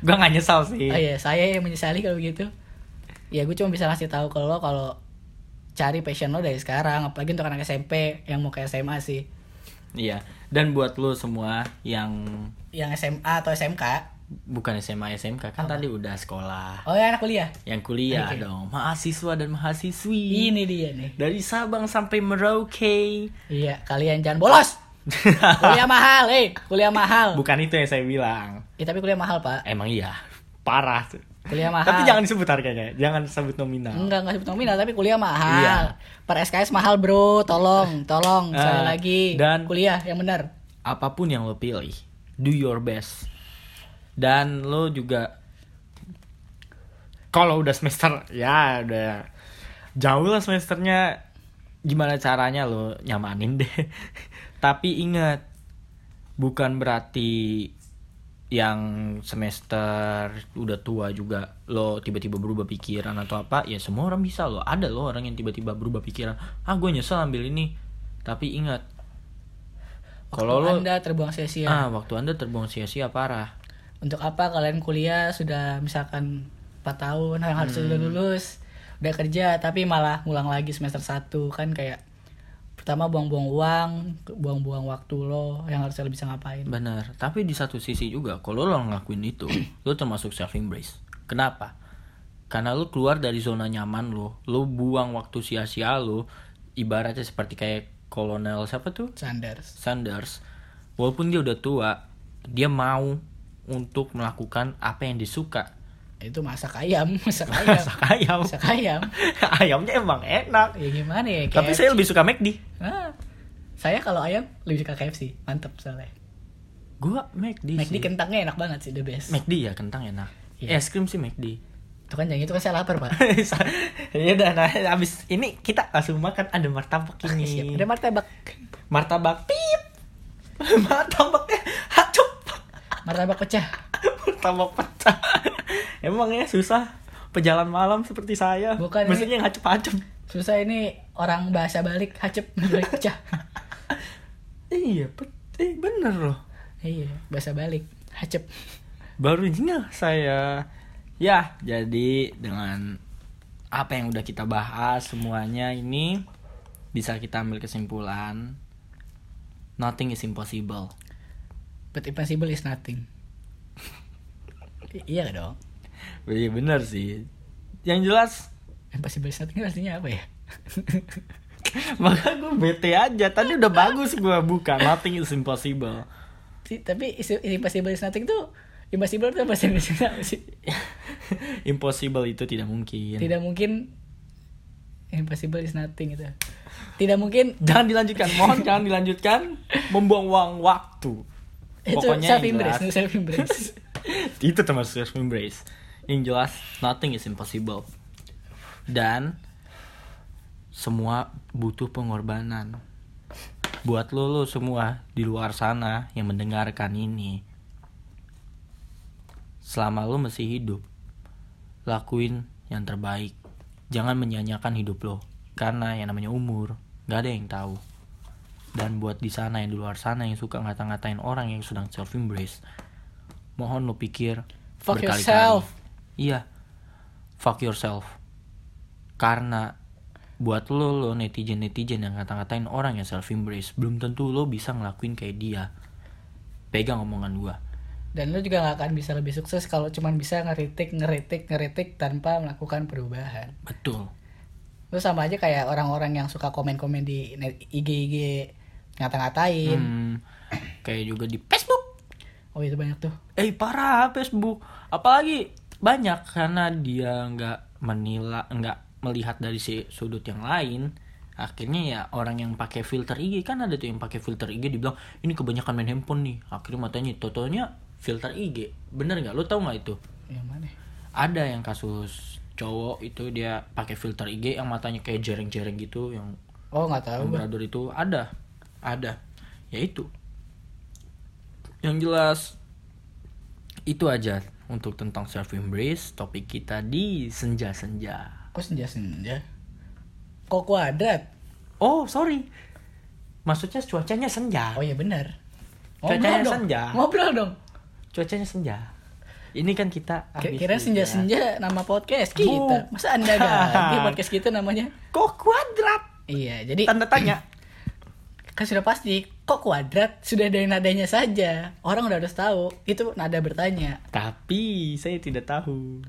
[SPEAKER 1] Gua gak nyesal sih.
[SPEAKER 2] Oh iya, saya yang menyesali kalau gitu. Ya gue cuma bisa ngasih tahu kalau lo kalau cari passion lo dari sekarang, apalagi untuk anak SMP yang mau ke SMA sih.
[SPEAKER 1] Iya. Dan buat lo semua yang
[SPEAKER 2] Yang SMA atau SMK?
[SPEAKER 1] bukan SMA SMK kan tadi udah sekolah.
[SPEAKER 2] Oh ya anak kuliah.
[SPEAKER 1] Yang kuliah dong, mahasiswa dan mahasiswi.
[SPEAKER 2] Ini dia nih.
[SPEAKER 1] Dari Sabang sampai Merauke.
[SPEAKER 2] Iya, kalian jangan bolos. kuliah mahal, eh, kuliah mahal.
[SPEAKER 1] bukan itu yang saya bilang.
[SPEAKER 2] Ya, tapi kuliah mahal, Pak.
[SPEAKER 1] Emang iya. Parah tuh.
[SPEAKER 2] Kuliah mahal.
[SPEAKER 1] Tapi jangan disebut harganya, jangan sebut nominal.
[SPEAKER 2] Enggak, enggak sebut nominal, tapi kuliah mahal.
[SPEAKER 1] Iya.
[SPEAKER 2] Per SKS mahal, Bro. Tolong, tolong
[SPEAKER 1] Eh,
[SPEAKER 2] sekali lagi.
[SPEAKER 1] dan-
[SPEAKER 2] kuliah yang benar.
[SPEAKER 1] Apapun yang lo pilih, do your best. Dan lo juga kalau udah semester ya udah jauh lah semesternya gimana caranya lo nyamanin deh. Tapi ingat bukan berarti yang semester udah tua juga lo tiba-tiba berubah pikiran atau apa ya semua orang bisa lo ada lo orang yang tiba-tiba berubah pikiran ah gue nyesel ambil ini tapi ingat kalau lo
[SPEAKER 2] Anda terbuang sia-sia.
[SPEAKER 1] Ah, waktu Anda terbuang sia-sia parah.
[SPEAKER 2] Untuk apa kalian kuliah sudah misalkan 4 tahun yang
[SPEAKER 1] Hmm.
[SPEAKER 2] harus sudah lulus, udah kerja tapi malah ngulang lagi semester 1 kan kayak pertama buang-buang uang, buang-buang waktu lo yang harusnya lo bisa ngapain.
[SPEAKER 1] Benar. Tapi di satu sisi juga, kalau lo ngelakuin itu, lo termasuk self embrace. Kenapa? Karena lo keluar dari zona nyaman lo, lo buang waktu sia-sia lo, ibaratnya seperti kayak kolonel siapa tuh?
[SPEAKER 2] Sanders.
[SPEAKER 1] Sanders. Walaupun dia udah tua, dia mau untuk melakukan apa yang disuka.
[SPEAKER 2] Itu masak ayam, masak ayam.
[SPEAKER 1] Masak ayam.
[SPEAKER 2] masak ayam.
[SPEAKER 1] Ayamnya emang enak.
[SPEAKER 2] Ya gimana ya?
[SPEAKER 1] Tapi
[SPEAKER 2] KFC.
[SPEAKER 1] saya lebih suka McD.
[SPEAKER 2] Ah, saya kalau ayam lebih suka KFC, mantep soalnya.
[SPEAKER 1] Gua McD.
[SPEAKER 2] McD
[SPEAKER 1] Iya sih.
[SPEAKER 2] kentangnya enak banget sih, the best.
[SPEAKER 1] McD ya kentang enak.
[SPEAKER 2] Iya.
[SPEAKER 1] Es krim sih McD.
[SPEAKER 2] Itu kan yang itu kan saya lapar, Pak.
[SPEAKER 1] ya udah nah abis ini kita langsung makan ada martabak
[SPEAKER 2] Ah, Siap.
[SPEAKER 1] ini.
[SPEAKER 2] Iya. Ada martabak.
[SPEAKER 1] martabak pip. Martabaknya hacup.
[SPEAKER 2] Martabak pecah.
[SPEAKER 1] martabak pecah. Emangnya susah pejalan malam seperti saya.
[SPEAKER 2] Bukan,
[SPEAKER 1] Maksudnya yang hacup-hacup.
[SPEAKER 2] Susah ini orang bahasa balik hacep balik pecah.
[SPEAKER 1] Iya, pet- eh, bener loh.
[SPEAKER 2] iya, bahasa balik hacep.
[SPEAKER 1] baru juga saya ya jadi dengan apa yang udah kita bahas semuanya ini bisa kita ambil kesimpulan nothing is impossible
[SPEAKER 2] But impossible is nothing. I- iya dong.
[SPEAKER 1] iya bener sih yang jelas
[SPEAKER 2] Impossible is nothing artinya apa ya?
[SPEAKER 1] maka gue bete aja tadi udah bagus gue buka nothing is impossible
[SPEAKER 2] Si- Tapi is- impossible is nothing tuh impossible tuh bahasa Indonesia apa sih?
[SPEAKER 1] impossible itu tidak mungkin
[SPEAKER 2] Tidak mungkin impossible is nothing itu. Tidak mungkin
[SPEAKER 1] jangan dilanjutkan mohon jangan dilanjutkan membuang waktu
[SPEAKER 2] itu
[SPEAKER 1] Pokoknya yang
[SPEAKER 2] self embrace,
[SPEAKER 1] jelas-
[SPEAKER 2] self embrace.
[SPEAKER 1] itu termasuk self embrace yang jelas nothing is impossible dan semua butuh pengorbanan buat lo lo semua di luar sana yang mendengarkan ini selama lo masih hidup lakuin yang terbaik jangan menyanyiakan hidup lo karena yang namanya umur gak ada yang tahu dan buat di sana yang di luar sana yang suka ngata-ngatain orang yang sedang self embrace mohon lo pikir
[SPEAKER 2] Fuck
[SPEAKER 1] berkali-kali.
[SPEAKER 2] yourself.
[SPEAKER 1] iya fuck yourself karena buat lo lo netizen netizen yang ngata-ngatain orang yang self embrace belum tentu lo bisa ngelakuin kayak dia pegang omongan gua
[SPEAKER 2] Dan lu juga gak akan bisa lebih sukses kalau cuman bisa ngeritik, ngeritik, ngeritik tanpa melakukan perubahan.
[SPEAKER 1] betul
[SPEAKER 2] Lu sama aja kayak orang-orang yang suka komen-komen di net- IG-IG ngata-ngatain.
[SPEAKER 1] Hmm, kayak juga di Facebook
[SPEAKER 2] Oh itu banyak tuh.
[SPEAKER 1] eh parah Facebook apalagi banyak karena dia nggak menila nggak melihat dari si sudut yang lain akhirnya ya orang yang pakai filter IG kan ada tuh yang pakai filter IG dibilang ini kebanyakan main handphone nih akhirnya matanya totonya filter IG bener nggak lo tau nggak itu
[SPEAKER 2] Yang mana?
[SPEAKER 1] ada yang kasus cowok itu dia pakai filter IG yang matanya kayak jereng-jereng gitu yang
[SPEAKER 2] Oh nggak tahu. gua.
[SPEAKER 1] Labrador itu ada, ada, ya itu. Yang jelas itu aja untuk tentang self embrace topik kita di senja-senja.
[SPEAKER 2] Kok senja senja? Kok kuadrat?
[SPEAKER 1] Oh sorry, maksudnya cuacanya senja,
[SPEAKER 2] Oh iya benar.
[SPEAKER 1] Cuacanya
[SPEAKER 2] Ngobrol dong.
[SPEAKER 1] senja.
[SPEAKER 2] Ngobrol dong.
[SPEAKER 1] cuacanya senja. Ini kan kita habis
[SPEAKER 2] Ki- Kira
[SPEAKER 1] juga.
[SPEAKER 2] senja senja nama podcast kita.
[SPEAKER 1] Bukan.
[SPEAKER 2] Masa anda ganti podcast kita namanya?
[SPEAKER 1] Kok kuadrat?
[SPEAKER 2] Iya jadi
[SPEAKER 1] Tanda tanya.
[SPEAKER 2] kan sudah pasti kok kuadrat sudah dari nadanya saja orang udah harus tahu itu nada bertanya
[SPEAKER 1] Tapi saya tidak tahu.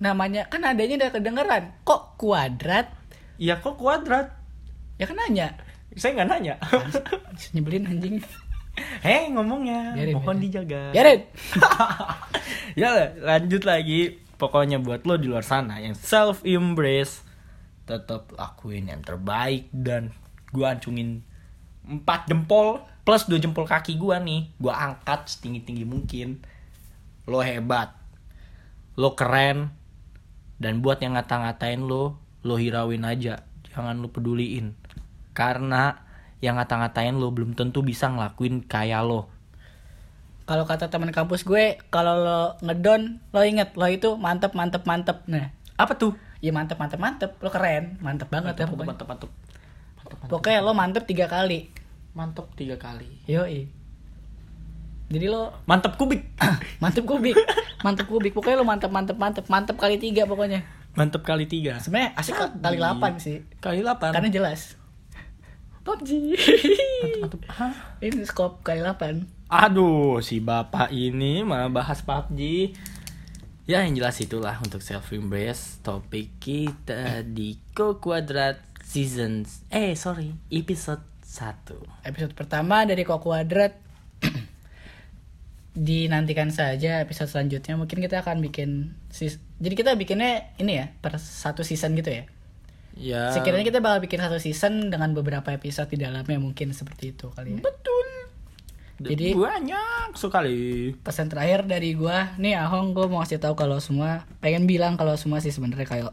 [SPEAKER 2] namanya kan nadanya udah kedengeran kok kuadrat
[SPEAKER 1] Ya kok kuadrat?
[SPEAKER 2] ya kan nanya
[SPEAKER 1] Saya nggak nanya.
[SPEAKER 2] nyebelin anjing
[SPEAKER 1] Hei ngomongnya,
[SPEAKER 2] Biarin,
[SPEAKER 1] mohon
[SPEAKER 2] biarin.
[SPEAKER 1] dijaga.
[SPEAKER 2] biarin
[SPEAKER 1] ya lanjut lagi pokoknya buat lo di luar sana yang self embrace tetap lakuin yang terbaik dan gua ancungin empat jempol plus dua jempol kaki gua nih gua angkat setinggi tinggi mungkin lo hebat lo keren dan buat yang ngata-ngatain lo lo hirauin aja jangan lo peduliin karena yang ngata-ngatain lo belum tentu bisa ngelakuin kayak lo
[SPEAKER 2] kalau kata teman kampus gue kalau lo ngedon lo inget lo itu mantep mantep mantep nah
[SPEAKER 1] apa tuh
[SPEAKER 2] ya mantep mantep mantep lo keren mantep banget ya pokoknya
[SPEAKER 1] mantep mantep
[SPEAKER 2] pokoknya lo mantep tiga kali
[SPEAKER 1] mantep tiga kali
[SPEAKER 2] yoi jadi lo
[SPEAKER 1] mantep kubik
[SPEAKER 2] mantep kubik mantep kubik pokoknya lo mantep mantep mantep mantep kali tiga pokoknya
[SPEAKER 1] mantep kali tiga
[SPEAKER 2] sebenarnya asik kali- kali
[SPEAKER 1] Jadi-
[SPEAKER 2] delapan sih
[SPEAKER 1] kali delapan
[SPEAKER 2] karena jelas PUBG
[SPEAKER 1] Mantep. Hah?
[SPEAKER 2] ini scope kali delapan
[SPEAKER 1] aduh si bapak ini malah bahas PUBG ya yang jelas itulah untuk self embrace topik kita di Ko Quadrat season eh sorry episode 1
[SPEAKER 2] episode pertama dari Kok Kuadrat dinantikan saja episode selanjutnya mungkin kita akan bikin sis- jadi kita bikinnya ini ya per satu season gitu ya
[SPEAKER 1] ya
[SPEAKER 2] sekiranya kita bakal bikin satu season dengan beberapa episode di dalamnya mungkin seperti itu kali ya
[SPEAKER 1] betul
[SPEAKER 2] Jadi-
[SPEAKER 1] banyak sekali.
[SPEAKER 2] pesan terakhir dari gua nih Ahong gua mau kasih tahu kalau semua pengen bilang kalau semua sih sebenarnya kayak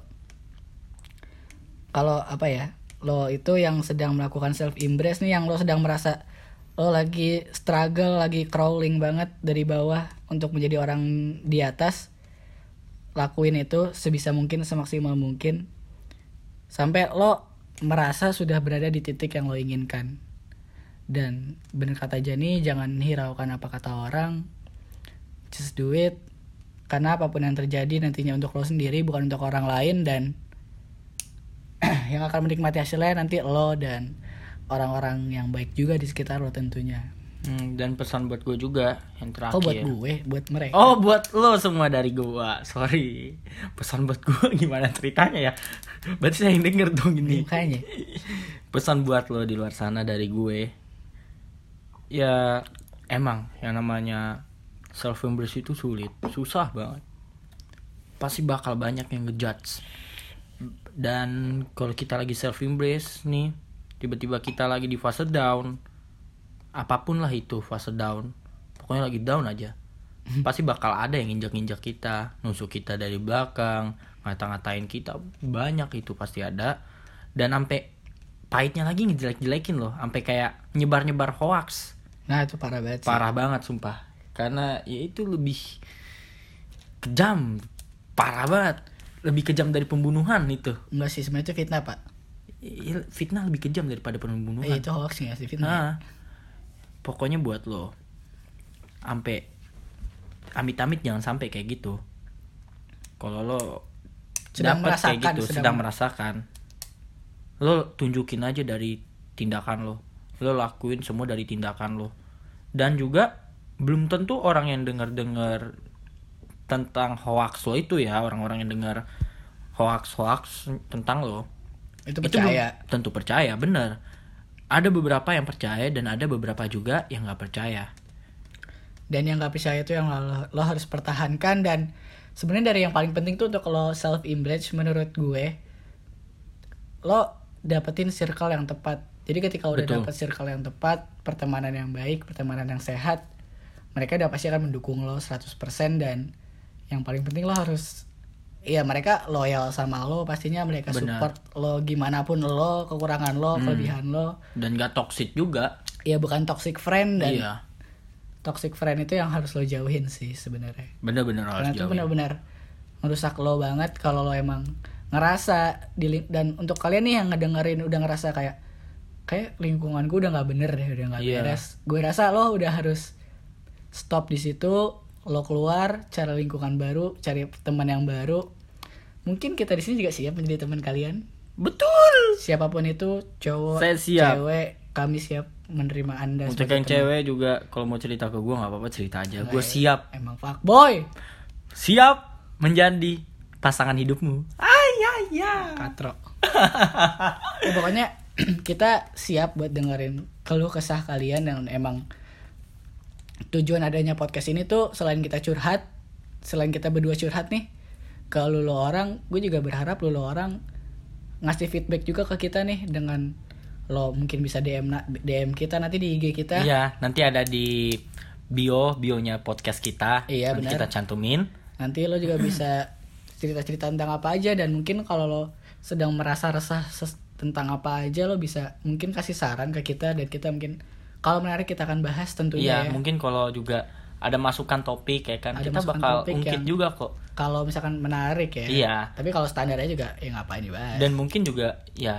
[SPEAKER 2] kalau apa ya lo itu yang sedang melakukan self embrace nih yang lo sedang merasa lo lagi struggle lagi crawling banget dari bawah untuk menjadi orang di atas lakuin itu sebisa mungkin semaksimal mungkin sampai lo merasa sudah berada di titik yang lo inginkan dan bener kata Jani jangan hiraukan apa kata orang just do it karena apapun yang terjadi nantinya untuk lo sendiri bukan untuk orang lain dan yang akan menikmati hasilnya nanti lo dan orang-orang yang baik juga di sekitar lo tentunya
[SPEAKER 1] Hmm, dan pesan buat gue juga yang terakhir.
[SPEAKER 2] oh buat gue buat mereka
[SPEAKER 1] Oh buat lo semua dari gua, sorry Pesan buat gua gimana ceritanya ya Berarti saya yang denger dong
[SPEAKER 2] Hmm,
[SPEAKER 1] ini
[SPEAKER 2] makanya
[SPEAKER 1] Pesan buat lo di luar sana dari gue Ya emang yang namanya self embrace itu sulit Susah banget Pasti bakal banyak yang ngejudge Dan kalau kita lagi self embrace nih Tiba-tiba kita lagi di fase down Apapun lah itu fase down Pokoknya lagi down aja
[SPEAKER 2] Mhm.
[SPEAKER 1] Pasti bakal ada yang injak-injak kita Nusuk kita dari belakang Ngata-ngatain kita Banyak itu pasti ada Dan sampai pahitnya lagi ngejelek-jelekin loh sampai kayak nyebar-nyebar hoax
[SPEAKER 2] nah itu parah banget sih
[SPEAKER 1] parah banget sumpah karena ya itu lebih kejam parah banget lebih kejam dari pembunuhan itu
[SPEAKER 2] enggak sih sebenarnya itu fitnah pak
[SPEAKER 1] I- i- fitnah lebih kejam daripada
[SPEAKER 2] eh,
[SPEAKER 1] pembunuhan
[SPEAKER 2] itu hoax nggak sih fitnah
[SPEAKER 1] nah pokoknya buat lo sampai amit-amit jangan sampai kayak gitu kalau lo
[SPEAKER 2] Sedang
[SPEAKER 1] dapet
[SPEAKER 2] merasakan,
[SPEAKER 1] kayak gitu sedang,
[SPEAKER 2] sedang-
[SPEAKER 1] merasakan lo tunjukin aja dari tindakan lo lo lakuin semua dari tindakan lo dan juga belum tentu orang yang dengar dengar tentang hoax lo itu ya orang-orang yang dengar hoax hoax tentang lo
[SPEAKER 2] itu
[SPEAKER 1] itu belum
[SPEAKER 2] percaya
[SPEAKER 1] tentu percaya bener ada beberapa yang percaya dan ada beberapa juga yang nggak percaya
[SPEAKER 2] dan yang nggak percaya itu yang lo, lo harus pertahankan dan sebenarnya dari yang paling penting tuh untuk lo self image menurut gue lo dapetin circle yang tepat jadi ketika udah
[SPEAKER 1] Betul.
[SPEAKER 2] dapet circle yang tepat pertemanan yang baik pertemanan yang sehat mereka udah pasti akan mendukung lo 100% dan yang paling penting lo harus Iya mereka loyal sama lo pastinya mereka
[SPEAKER 1] Benar. Hmm.
[SPEAKER 2] support lo gimana pun lo kekurangan lo kelebihan lo
[SPEAKER 1] dan nggak toxic juga
[SPEAKER 2] ya bukan toxic friend dan
[SPEAKER 1] iya
[SPEAKER 2] toxic friend itu yang harus lo jauhin sih sebenarnya
[SPEAKER 1] bener-bener
[SPEAKER 2] karena
[SPEAKER 1] harus
[SPEAKER 2] itu
[SPEAKER 1] jauhin.
[SPEAKER 2] benar-benar merusak lo banget kalau lo emang ngerasa di ling- dan untuk kalian nih yang ngedengerin udah ngerasa kayak kayak lingkungan gue udah nggak bener deh udah nggak
[SPEAKER 1] Iya.
[SPEAKER 2] beres gue rasa lo udah harus stop di situ lo keluar cari lingkungan baru cari teman yang baru mungkin kita di sini juga siap menjadi teman kalian
[SPEAKER 1] betul
[SPEAKER 2] siapapun itu cowok
[SPEAKER 1] Saya siap.
[SPEAKER 2] cewek kami siap menerima anda
[SPEAKER 1] untuk
[SPEAKER 2] sebagai
[SPEAKER 1] yang cewek juga kalau mau cerita ke gue nggak apa-apa cerita aja gue
[SPEAKER 2] Baik.
[SPEAKER 1] siap
[SPEAKER 2] teman. emang fuck boy
[SPEAKER 1] siap menjadi pasangan hidupmu ay ay ay
[SPEAKER 2] katro Ya, pokoknya kita siap buat dengerin keluh kesah kalian yang emang tujuan adanya podcast ini tuh selain kita curhat selain kita berdua curhat nih ke lu lu orang gue juga berharap lu lu orang ngasih feedback juga ke kita nih dengan lo mungkin bisa DM na- DM kita nanti di IG kita
[SPEAKER 1] iya nanti ada di bio bionya podcast kita
[SPEAKER 2] Iya,
[SPEAKER 1] nanti kita
[SPEAKER 2] benar.
[SPEAKER 1] cantumin
[SPEAKER 2] Nanti lo juga bisa cerita-cerita tentang apa aja dan mungkin kalau lo sedang merasa resah ses- tentang apa aja lo bisa mungkin kasih saran ke kita dan kita mungkin kalau menarik kita akan bahas tentunya
[SPEAKER 1] iya
[SPEAKER 2] ya.
[SPEAKER 1] mungkin kalau juga ada masukan topik ya kan
[SPEAKER 2] Ada
[SPEAKER 1] kita
[SPEAKER 2] masukan
[SPEAKER 1] bakal
[SPEAKER 2] topik
[SPEAKER 1] ungkit
[SPEAKER 2] yang-
[SPEAKER 1] juga kok
[SPEAKER 2] Kalau misalkan menarik ya.
[SPEAKER 1] Iya.
[SPEAKER 2] Tapi kalau standarnya juga ya ngapain dibahas.
[SPEAKER 1] dan mungkin juga ya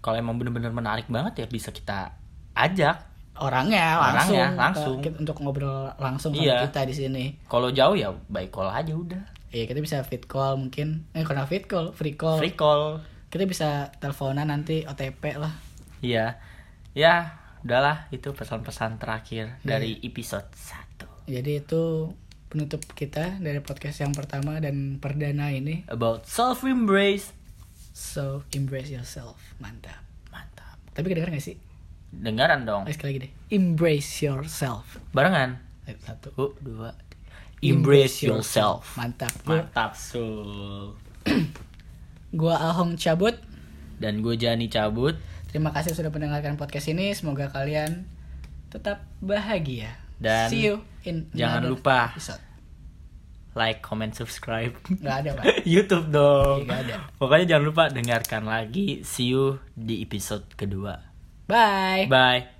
[SPEAKER 1] kalau emang bener-bener menarik banget ya bisa kita ajak
[SPEAKER 2] orangnya langsung
[SPEAKER 1] Orangnya
[SPEAKER 2] ke-
[SPEAKER 1] langsung.
[SPEAKER 2] kita- untuk ngobrol langsung sama
[SPEAKER 1] Iya.
[SPEAKER 2] kita di sini.
[SPEAKER 1] kalau jauh ya by call aja udah
[SPEAKER 2] Iya, kita bisa fit call mungkin. Eh, karena fit call, free call.
[SPEAKER 1] free call
[SPEAKER 2] Kita bisa teleponan nanti OTP lah.
[SPEAKER 1] iya ya udahlah itu pesan-pesan terakhir dari episode 1
[SPEAKER 2] Jadi itu penutup kita dari podcast yang pertama dan perdana ini.
[SPEAKER 1] about self embrace
[SPEAKER 2] So embrace yourself, mantap.
[SPEAKER 1] mantap
[SPEAKER 2] Tapi kedengeran gak sih?
[SPEAKER 1] dengaran dong
[SPEAKER 2] Ayo sekali lagi deh. Embrace yourself.
[SPEAKER 1] barengan
[SPEAKER 2] Ayo, Satu.
[SPEAKER 1] satu dua embrace yourself
[SPEAKER 2] Mantap. Gua,
[SPEAKER 1] mantap sul
[SPEAKER 2] gua Alhong cabut.
[SPEAKER 1] dan gue Jani cabut
[SPEAKER 2] Terima kasih sudah mendengarkan podcast ini. Semoga kalian tetap bahagia.
[SPEAKER 1] Dan
[SPEAKER 2] See you in
[SPEAKER 1] jangan
[SPEAKER 2] another
[SPEAKER 1] lupa.
[SPEAKER 2] episode.
[SPEAKER 1] like, comment, subscribe.
[SPEAKER 2] Nggak ada, Pak.
[SPEAKER 1] YouTube dong.
[SPEAKER 2] Iya, gak ada.
[SPEAKER 1] Pokoknya jangan lupa dengarkan lagi. See you di episode kedua.
[SPEAKER 2] Bye.
[SPEAKER 1] Bye.